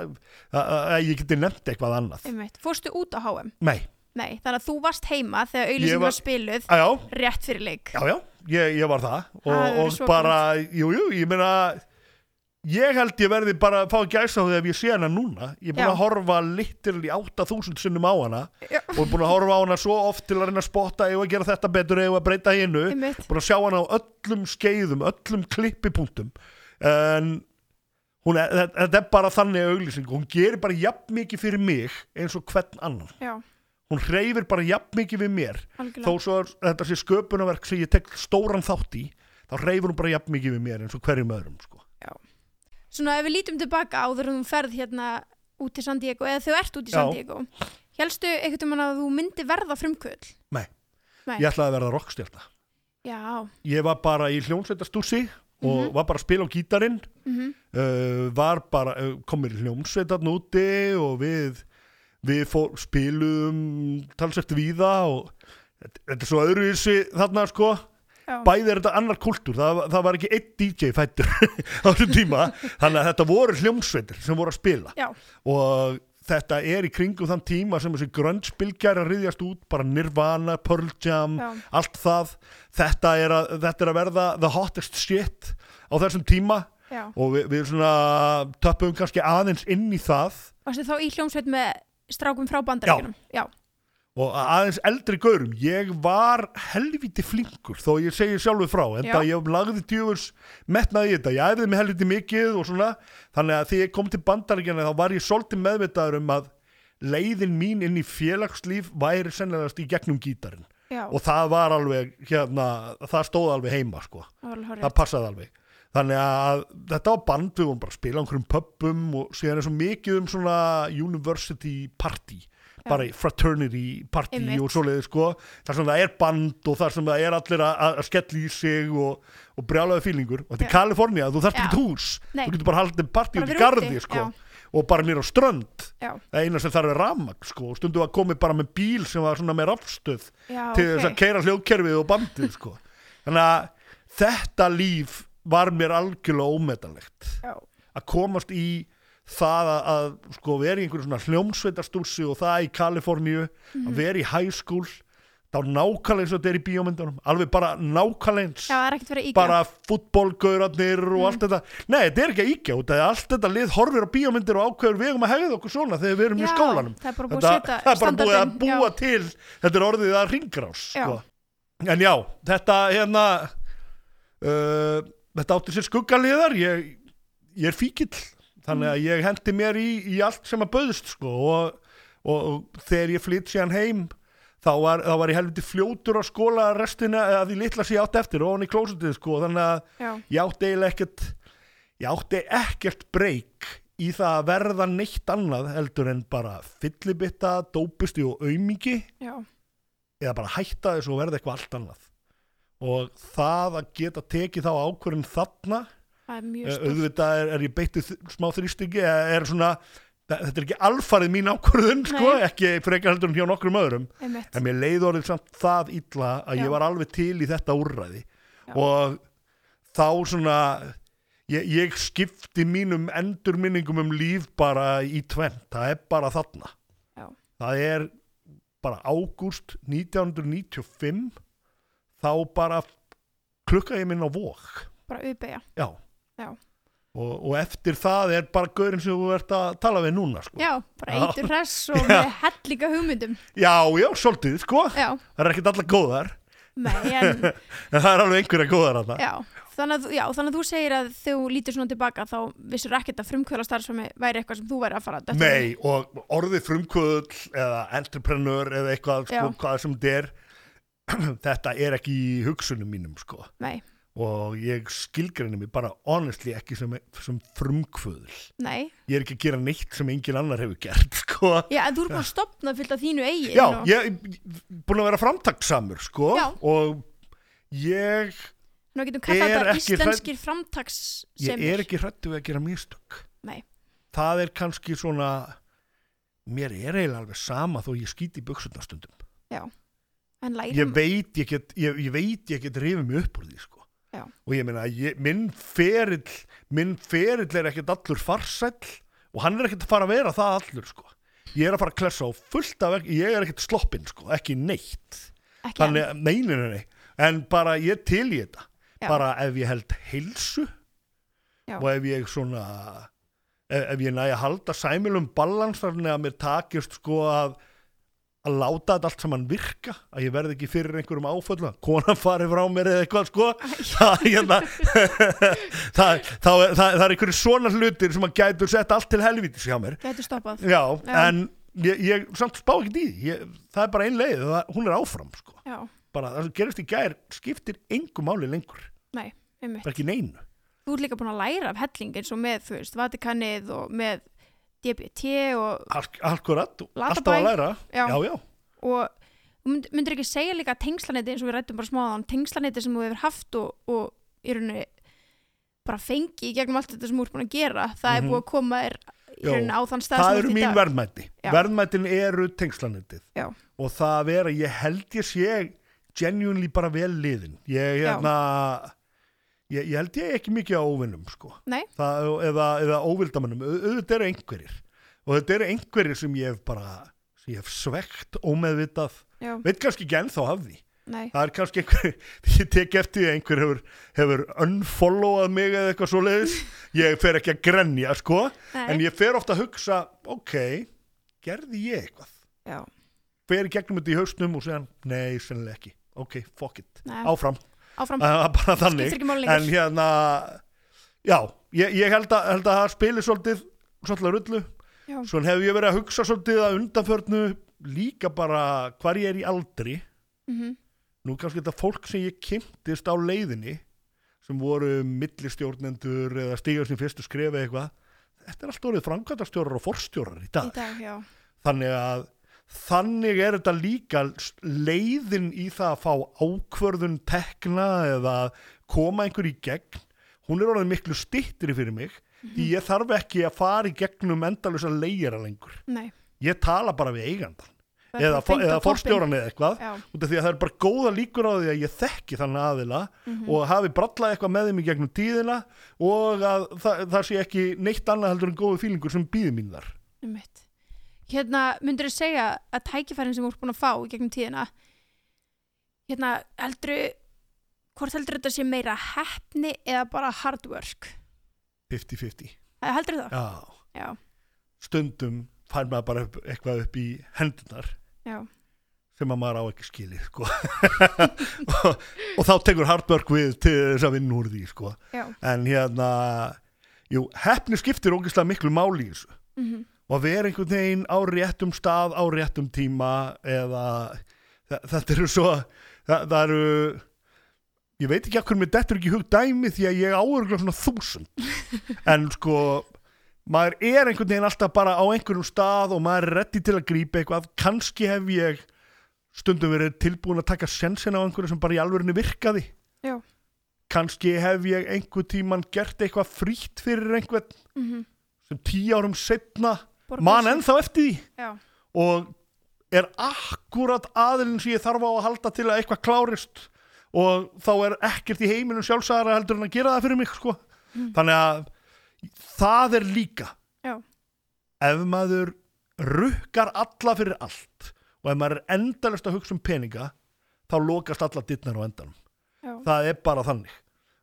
Speaker 1: að að ég geti nefnt eitthvað annað.
Speaker 3: einmitt, Fórstu út á HM?
Speaker 1: Nei,
Speaker 3: Nei, þannig að þú varst heima þegar auðlýsingum
Speaker 1: var-
Speaker 3: var spiluð
Speaker 1: já,
Speaker 3: rétt fyrir leik
Speaker 1: já, já, ég, ég var það.
Speaker 3: Það
Speaker 1: Og,
Speaker 3: hefur
Speaker 1: og
Speaker 3: verið svo
Speaker 1: bara, jú, jú, ég meina, ég held ég verði bara að fá gæsa á því ef ég sé hana núna. Ég er búin
Speaker 3: Já.
Speaker 1: að horfa litirli 8000 sinnum á hana.
Speaker 3: Já.
Speaker 1: og er búin að horfa á hana svo oft til að reyna að spotta eða að gera þetta betur eða að breyta hinnu
Speaker 3: Einmitt.
Speaker 1: búin að sjá hana á öllum skeiðum öllum klippipunktum en hún er, þe- þetta er bara þannig auglýsing hún gerir bara jafn mikið fyrir mig eins og hvern annan
Speaker 3: Já,
Speaker 1: hún reyfir bara jafn mikið við mér þó
Speaker 3: algjörlega
Speaker 1: svo er þetta sé sköpunarverk sem ég tek stóran þátt í þá reyfur hún bara jafn mikið við mér eins og hverjum öðrum sko.
Speaker 3: Svona ef við lítum tilbaka áður en þú ferð hérna út til San Diego eða þau ert út í
Speaker 1: Já.
Speaker 3: San Diego Hélstu einhvern veginn að þú myndi verða frumkvöld?
Speaker 1: Nei.
Speaker 3: Nei.
Speaker 1: ég ætlaði að verða rockstjálna
Speaker 3: Já,
Speaker 1: ég var bara í hljómsveitastúsi og var bara að spila á gítarinn
Speaker 3: Mhm.
Speaker 1: uh, var bara uh, komir hljómsveitarn úti og við við fór, spilum talsett viða og þetta, þetta er svo öðruvísi þarna sko
Speaker 3: já,
Speaker 1: bæði er þetta annar kultúr, það, það var ekki einn DJ fættur á þessum tíma þannig að þetta voru hljómsveitir sem voru að spila
Speaker 3: já,
Speaker 1: og þetta er í kringum þann tíma sem þessi grönnspilgjar að riðjast út, bara Nirvana, Pearl Jam
Speaker 3: já,
Speaker 1: allt það þetta er, að, þetta er að verða the hottest shit á þessum tíma
Speaker 3: já
Speaker 1: og við, við svona töpum kannski aðeins inn í það
Speaker 3: Varstu þá í hljómsveit með strákum frá bandarækjunum? Já,
Speaker 1: og aðeins eldri gaurum ég var helviti flinkur þó ég segi sjálfur frá en
Speaker 3: Já.
Speaker 1: það ég lagði djöfus metnaði í þetta ég æfði mig helviti mikið og svona þannig að þegar ég kom til bandaríkjana þá var ég svolítið meðvitaður um að leiðin mín inn í félagslíf væri sennilegast í gegnum gítarinn
Speaker 3: já,
Speaker 1: og það var alveg hérna, það stóð alveg heima sko
Speaker 3: það var
Speaker 1: það
Speaker 3: alveg horrið
Speaker 1: passaði alveg þannig að þetta var band við vorum bara að spila á einhverjum pöppum og síðan er svo mikið um svona university party bara fraternity party
Speaker 3: Einmitt.
Speaker 1: og svoleiði sko þar sem það er band og þar sem það er allir að, að- að skella í sig og, og brjálaði fílingur og þetta er
Speaker 3: Já.
Speaker 1: Kalifornía, þú þarft
Speaker 3: Já.
Speaker 1: ekki hús
Speaker 3: Nei.
Speaker 1: þú getur bara haldið partí út
Speaker 3: Bara
Speaker 1: í
Speaker 3: verið úti,
Speaker 1: garði sko
Speaker 3: já.
Speaker 1: og bara nýra á strönd
Speaker 3: Já,
Speaker 1: það er eina sem þarf er rafmagn sko og stundum að komið bara með bíl sem var svona með rafstöð
Speaker 3: já,
Speaker 1: til þess að
Speaker 3: ok
Speaker 1: keira hljóðkerfið og bandið sko. þannig að þetta líf var mér algjörlega ómetanlegt
Speaker 3: Já,
Speaker 1: að komast í það að, að sko, vera í einhverju svona hljómsveitarstússi og það í Kaliforníu
Speaker 3: Mhm.
Speaker 1: að vera í high school þá nákvæmlega eins og þetta er í bíómyndunum alveg bara nákvæmlega eins
Speaker 3: já, það er ekkert verið ígjá
Speaker 1: bara fútbolgaurarnir og allt þetta nei, þetta er ekki að íkja út af því að allt þetta lið horfir á bíómyndir og ákveður við um að hegða okkur svona þegar við erum í skólanum
Speaker 3: Já, það er bara búið að
Speaker 1: þetta, það
Speaker 3: setja
Speaker 1: er bara búið að
Speaker 3: standardinn,
Speaker 1: búa
Speaker 3: já.
Speaker 1: til þetta er orðið að ringrás sko. en já, þetta hérna uh, þetta átti sér skuggaliðar ég, ég er fíkill þannig
Speaker 3: Mm.
Speaker 1: að ég hendi mér í, í allt sem að bauðst sko, og, og, og þegar ég flytt síðan heim þá var, þá var ég helviti fljótur að skóla restina að því litla sem ég átti eftir ofan í klósitið sko, þannig að
Speaker 3: Já,
Speaker 1: ég átti eiginlega ekkert ég átti ekkert breyk í það að verða neitt annað heldur en bara fyllibitta, dópusti og aumingi
Speaker 3: já,
Speaker 1: eða bara hætta þessu og verða eitthvað allt annað og það að geta tekið þá ákvörðin þarna
Speaker 3: það er mjög
Speaker 1: eh,
Speaker 3: stórt
Speaker 1: auðvitað er, er ég beittið smá þrýstingi eða er svona, þetta er ekki alfarið mín ákvörðun sko,
Speaker 3: Nei.
Speaker 1: ekki frekar heldur en hjá nokkrum öðrum
Speaker 3: Einmitt,
Speaker 1: en mér leið orðið samt það illa að
Speaker 3: Já.
Speaker 1: ég var alveg til í þetta úrræði
Speaker 3: Já.
Speaker 1: og þá svona ég, ég skipti mínum endurminningum um líf bara í tvenn, það er bara þarna
Speaker 3: Já.
Speaker 1: það er bara ágúst 1995 þá bara klukka ég minn á vok
Speaker 3: bara auðbegja
Speaker 1: já,
Speaker 3: Já.
Speaker 1: og, og eftir það er bara gaurinn sem þú ert að tala við núna sko.
Speaker 3: já, bara
Speaker 1: Já.
Speaker 3: eitur hress og
Speaker 1: Já.
Speaker 3: með hellinga hugmyndum
Speaker 1: já, já, svolítið sko
Speaker 3: já,
Speaker 1: það er ekkert allar góðar
Speaker 3: nei, en
Speaker 1: en það er alveg einhverja góðar að það
Speaker 3: Já, þannig að, þú- já, þannig að þú segir að þegar þú lítur svona tilbaka þá vissur ekkert að frumkvöla starfsfami væri eitthvað sem þú væri að fara að detta í.
Speaker 1: Nei, og orðið frumkvöðl eða entrepreneur eða eitthvað sko,
Speaker 3: Já.
Speaker 1: hvað sem þetta er þetta er ekki í hugsunum mínum sko.
Speaker 3: Nei,
Speaker 1: og ég skilgreinu mig bara honestly ekki sem, sem frumkvöðl
Speaker 3: nei,
Speaker 1: ég er ekki að gera neitt sem engin annar hefur gert sko.
Speaker 3: já, en þú er búin að stopna fyllt af þínu eigin
Speaker 1: Já,
Speaker 3: og,
Speaker 1: ég er búin að vera framtakssamur sko,
Speaker 3: Já.
Speaker 1: og ég,
Speaker 3: Nú getum kallað
Speaker 1: er
Speaker 3: þetta
Speaker 1: ekki hrædd-
Speaker 3: íslenskir hræd... framtaks
Speaker 1: ég er ekki hrættu við að gera mistök
Speaker 3: Nei.
Speaker 1: það er kannski svona mér er eiginlega alveg sama þó ég skýti í buksutnastundum
Speaker 3: En lærum,
Speaker 1: ég veit ég get, ég, ég veit ég get rifið mig upp úr því sko.
Speaker 3: Já.
Speaker 1: og ég meina ég, minn ferill minn ferill er ekkert allur farsæll og hann er ekkert að fara að vera það allur sko. ég er að fara að klessa á fullt af ég er ekkert sloppinn, sko, ekki neitt
Speaker 3: ekki
Speaker 1: þannig, nei, nei, nei, nei en bara ég til í þetta
Speaker 3: Já.
Speaker 1: bara ef ég held heilsu
Speaker 3: Já.
Speaker 1: og ef ég svona ef, ef ég næja að halda sæmilum balans þannig að mér takist sko að að láta þetta allt saman virka að ég verði ekki fyrir einhverjum áföllu að konan fari frá mér eða eitthvað sko það, hérna, það, það, það, það er einhverju svona hlutir sem að gætu sett allt til helvítis hjá mér
Speaker 3: en gætu stoppað
Speaker 1: já,
Speaker 3: Já.
Speaker 1: en ég, ég samt spá ekki því ég, það er bara ein leið, það, hún er áfram sko
Speaker 3: Já,
Speaker 1: bara það sem gerist í gær skiptir engu máli lengur,
Speaker 3: nei, einmitt
Speaker 1: bara ekki neinu
Speaker 3: Þú ert líka búin að læra af helling eins og með, þú veist, Vatikanið og með DBT og,
Speaker 1: Ak- akkurat, alltaf
Speaker 3: Latabæ.
Speaker 1: að læra
Speaker 3: já,
Speaker 1: já, já,
Speaker 3: og þú mynd, myndir ekki segja líka að tengslanetti eins og við rættum bara smáðan, tengslanetti sem þú hefur haft og, og í rauninni bara fengi í gegnum allt þetta sem þú ert búin að gera það er
Speaker 1: Mhm.
Speaker 3: búið að koma þér í
Speaker 1: Já,
Speaker 3: rauninni á þann stað
Speaker 1: það
Speaker 3: sem þú
Speaker 1: eru
Speaker 3: ert í
Speaker 1: mín
Speaker 3: dag.
Speaker 1: verðmæti
Speaker 3: Já.
Speaker 1: verðmætin eru tengslanetið
Speaker 3: Já.
Speaker 1: og það að vera, ég held ég sé genuinely bara vel liðin ég,
Speaker 3: Já.
Speaker 1: hérna, ég, ég held ég ekki mikið á óvinnum sko.
Speaker 3: Nei.
Speaker 1: það, eða, eða óvildamannum Au- auðvitað eru einhverjir og þetta eru einhverjir sem ég hef bara sem ég hef svegt ómeðvitað
Speaker 3: Já,
Speaker 1: veit kannski ekki ennþá af því
Speaker 3: nei,
Speaker 1: það er kannski einhver, ég tek eftir því að einhver hefur, hefur unfollowað mig eða eitthvað svo leiðis, ég fer ekki að grenja sko, en
Speaker 3: nei,
Speaker 1: ég fer ofta að hugsa ok, gerði ég eitthvað
Speaker 3: já,
Speaker 1: fer í gegnum þetta í hausnum og segja nei, sennilega ekki, ok, fuck it
Speaker 3: nei,
Speaker 1: áfram,
Speaker 3: áfram,
Speaker 1: það er bara
Speaker 3: skiptir
Speaker 1: þannig
Speaker 3: ekki máli
Speaker 1: en
Speaker 3: lengur
Speaker 1: hérna já, ég, ég held, að, held að það spili svolítið, svolítið að rullu
Speaker 3: Já,
Speaker 1: svo hef ég verið að hugsa svolítið að undanförnu líka bara hvar ég er í aldri
Speaker 3: mm
Speaker 1: nú kannski þetta fólk sem ég kynntist á leiðinni sem voru millistjórnendur eða stígjast í fyrstu skrefi eitthvað þetta er allt orðið framkvæmtastjórar og forstjórar í
Speaker 3: í
Speaker 1: dag
Speaker 3: dag, já,
Speaker 1: þannig að þannig er þetta líka leiðin í það að fá ákvörðun tekna eða koma einhver í gegn hún er orðið miklu stittri fyrir mig
Speaker 3: Mhm.
Speaker 1: því ég þarf ekki að fara í gegnum endalösa leigera lengur
Speaker 3: nei
Speaker 1: ég tala bara við eigandan
Speaker 3: Það er
Speaker 1: eða,
Speaker 3: bara fengt á
Speaker 1: eða
Speaker 3: toppinn.
Speaker 1: forstjóran eða eitthvað
Speaker 3: Já,
Speaker 1: út af því að það er bara góða líkur á því að ég þekki þannig aðila
Speaker 3: Mhm.
Speaker 1: og hafi brallað eitthvað með þeim í gegnum tíðina og að það, það sé ekki neitt annað heldur en góðu fílingur sem býði mín þar
Speaker 3: einmitt Hérna, myndir þú segja að tækifærin sem þú ert búin að fá í gegnum tíðina hérna, heldur hvort heldur þetta sé meira heppni eða bara hard work
Speaker 1: 50-50
Speaker 3: Eh, Heldur það?
Speaker 1: Já.
Speaker 3: Já.
Speaker 1: stundum fær maður bara upp, eitthvað upp í hendunar
Speaker 3: Já.
Speaker 1: sem að maður á ekki skilið sko. og, og þá tekur hardwork við til þess að vinna úr því sko.
Speaker 3: Já,
Speaker 1: en hérna jú, hefni skiptir ógeðslega miklu máli í þessu
Speaker 3: mm
Speaker 1: og að vera einhvern veginn á réttum stað á réttum tíma eða þa- þetta eru svo það, það eru ég veit ekki okkur mér dettur ekki í hug dæmi því að ég áurgla svona þúsund en sko maður er einhvern veginn alltaf bara á einhverjum stað og maður er reddi til að grípa eitthvað kannski hef ég stundum verið tilbúin að taka sensin á einhverju sem bara í alvörinu virkaði
Speaker 3: Já.
Speaker 1: kannski hef ég einhvern tíman gert eitthvað frítt fyrir einhvern sem tíu árum setna man ennþá eftir því
Speaker 3: Já,
Speaker 1: og er akkurat aðilinn sem ég þarf á að halda til að eitthvað klárist og þá er ekkert í heiminum sjálfsagara heldur en að gera það fyrir mig sko.
Speaker 3: Mm.
Speaker 1: þannig að það er líka
Speaker 3: Já.
Speaker 1: ef maður rukkar alla fyrir allt og ef maður er endalist að hugsa um peninga þá lokast alla dittnar á endanum
Speaker 3: já,
Speaker 1: það er bara þannig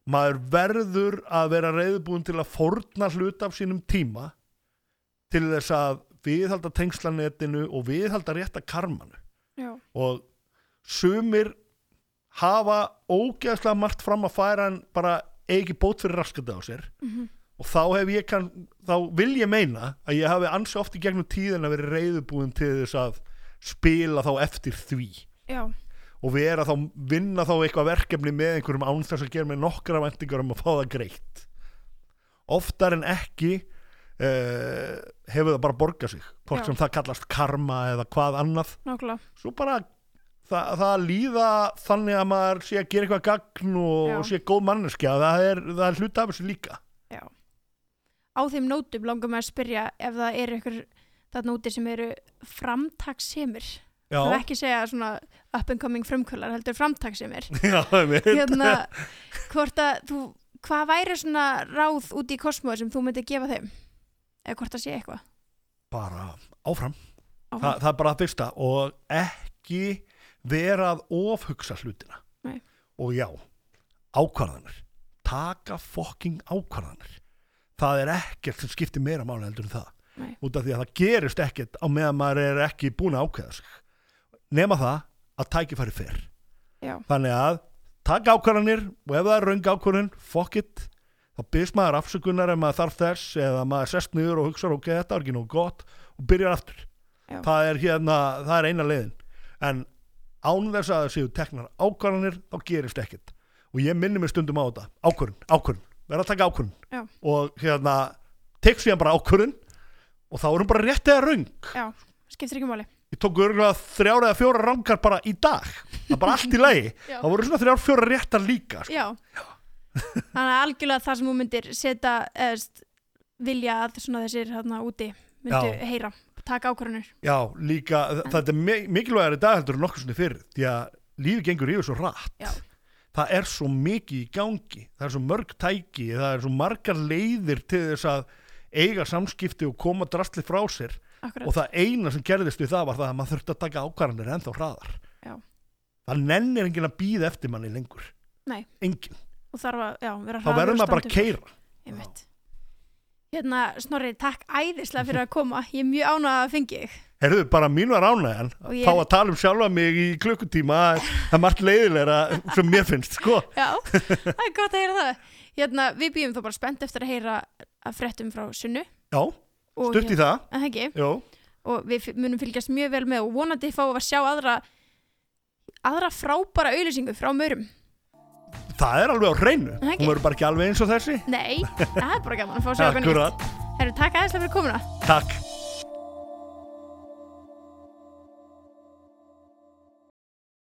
Speaker 1: maður verður að vera reyðbúin til að forna hlut af sínum tíma til þess að viðhalda tengslanettinu og viðhalda rétta karmanu
Speaker 3: já,
Speaker 1: og sumir hafa ógeðslega margt fram að færa en bara eiga ekki bót fyrir raskandi á sér og þá hef ég kann, þá vil ég meina að ég hafi ansi oft í gegnum tíðin að vera reyðubúin til þess að spila þá eftir því
Speaker 3: já,
Speaker 1: og vera þá, vinna þá eitthvað verkefni með einhverjum án þess að gera með nokkra vendingar um að fá það greitt oftar en ekki uh, hefur það bara borgað sig hvort
Speaker 3: Já.
Speaker 1: sem það kallast karma eða hvað annað
Speaker 3: nákvæmlega
Speaker 1: svo bara það, það að líða þannig að maður sé að gera eitthvað gagn og,
Speaker 3: Já.
Speaker 1: og sé góð manneskja það er, það er hluta af þessu líka
Speaker 3: á þeim nótum langar maður að spyrja ef það eru ykkur þarna úti sem eru framtakssemir það er
Speaker 1: já,
Speaker 3: ekki segja svona up and coming frumkvölar heldur framtakssemir
Speaker 1: já, einmitt.
Speaker 3: hérna, hvort að þú hvað væri svona ráð úti í kosmóð sem þú myndi gefa þeim eða hvort það sé eitthvað
Speaker 1: bara áfram Þa,
Speaker 3: áfram.
Speaker 1: það er bara að fyrsta og ekki vera að ofhugsa hlutina
Speaker 3: Nei.
Speaker 1: og já, ákvarðanir taka fokking ákvarðanir það er ekkert sem skiptir meira máli heldur en það
Speaker 3: Nei.
Speaker 1: út af því að það gerist ekkert á meðan maður er ekki búin að ákveða sig nema það að tækifæri fyrr
Speaker 3: Já.
Speaker 1: þannig að taka ákvarðanir og ef það er röng ákvarðan, fuck it þá byrst maður afsökunar ef maður þarf þess eða maður sest niður og hugsa ok, þetta er ekki nóg gott og byrjar aftur
Speaker 3: Já.
Speaker 1: það er hérna, það er eina leiðin en án þess að það séu teknar ákvarðanir þá gerist ekkert og ég minni mig stundum á þetta ákvarðan, ákvarðan, verða að taka
Speaker 3: Já.
Speaker 1: ákvarðan og hérna, tek síðan bara ákvarðan og þá erum bara rétt eða röng
Speaker 3: já, skiptir ekki máli
Speaker 1: ég tók örgulega þrjár eða fjóra rangar bara í dag það er bara allt í lagi
Speaker 3: Já.
Speaker 1: það voru svona þrjár fjóra réttar líka sko.
Speaker 3: já. þannig að algjörlega það sem þú myndir setja eðst, vilja að svona þessir hérna úti myndu
Speaker 1: Já.
Speaker 3: heyra, taka ákvarðanir
Speaker 1: já, líka, þa- þetta er mi- mikilvægari í dag heldur en nokkuð svona fyrir því að lífi gengur yfir svo rætt
Speaker 3: Já.
Speaker 1: það er svo mikið í gangi það er svo mörg tæki, það er svo margar leiðir til þess að eiga samskipti og koma drastlið frá sér
Speaker 3: Akkurat.
Speaker 1: og það eina sem gerðist við það var það að maður þurfti að taka ákvarðanir ennþá hraðar
Speaker 3: Já.
Speaker 1: það nennir enginn að býða eftir manni lengur
Speaker 3: Nei.
Speaker 1: enginn,
Speaker 3: og þarf að já, vera
Speaker 1: þá verður maður bara að keira
Speaker 3: keir hérna Snorri, takk æðislega fyrir að koma ég er mjög ánað að fengi þig
Speaker 1: Herðu, bara mín var ánægjan
Speaker 3: Og ég-
Speaker 1: Fá að tala um sjálfa mig í klukkutíma Það er margt leiðilega sem mér finnst sko.
Speaker 3: já, það er gott að heyra það hérna, við býjum þá bara spennt eftir að heyra að fréttum frá sunnu
Speaker 1: Já,
Speaker 3: og, hérna.
Speaker 1: stutt í það
Speaker 3: En það ekki,
Speaker 1: Jó,
Speaker 3: og við f- munum fylgjast mjög vel með og vonandi fá að sjá aðra aðra frábæra auðlýsingu frá mörum
Speaker 1: Það er alveg á hreinu
Speaker 3: Það ekki.
Speaker 1: Hún verður bara ekki alveg eins og þessi
Speaker 3: nei, það er bara gaman að fá að sjá eitthvað nýtt
Speaker 1: Akkúrat.
Speaker 3: Herru, takk aðeinslega fyrir komuna
Speaker 1: Takk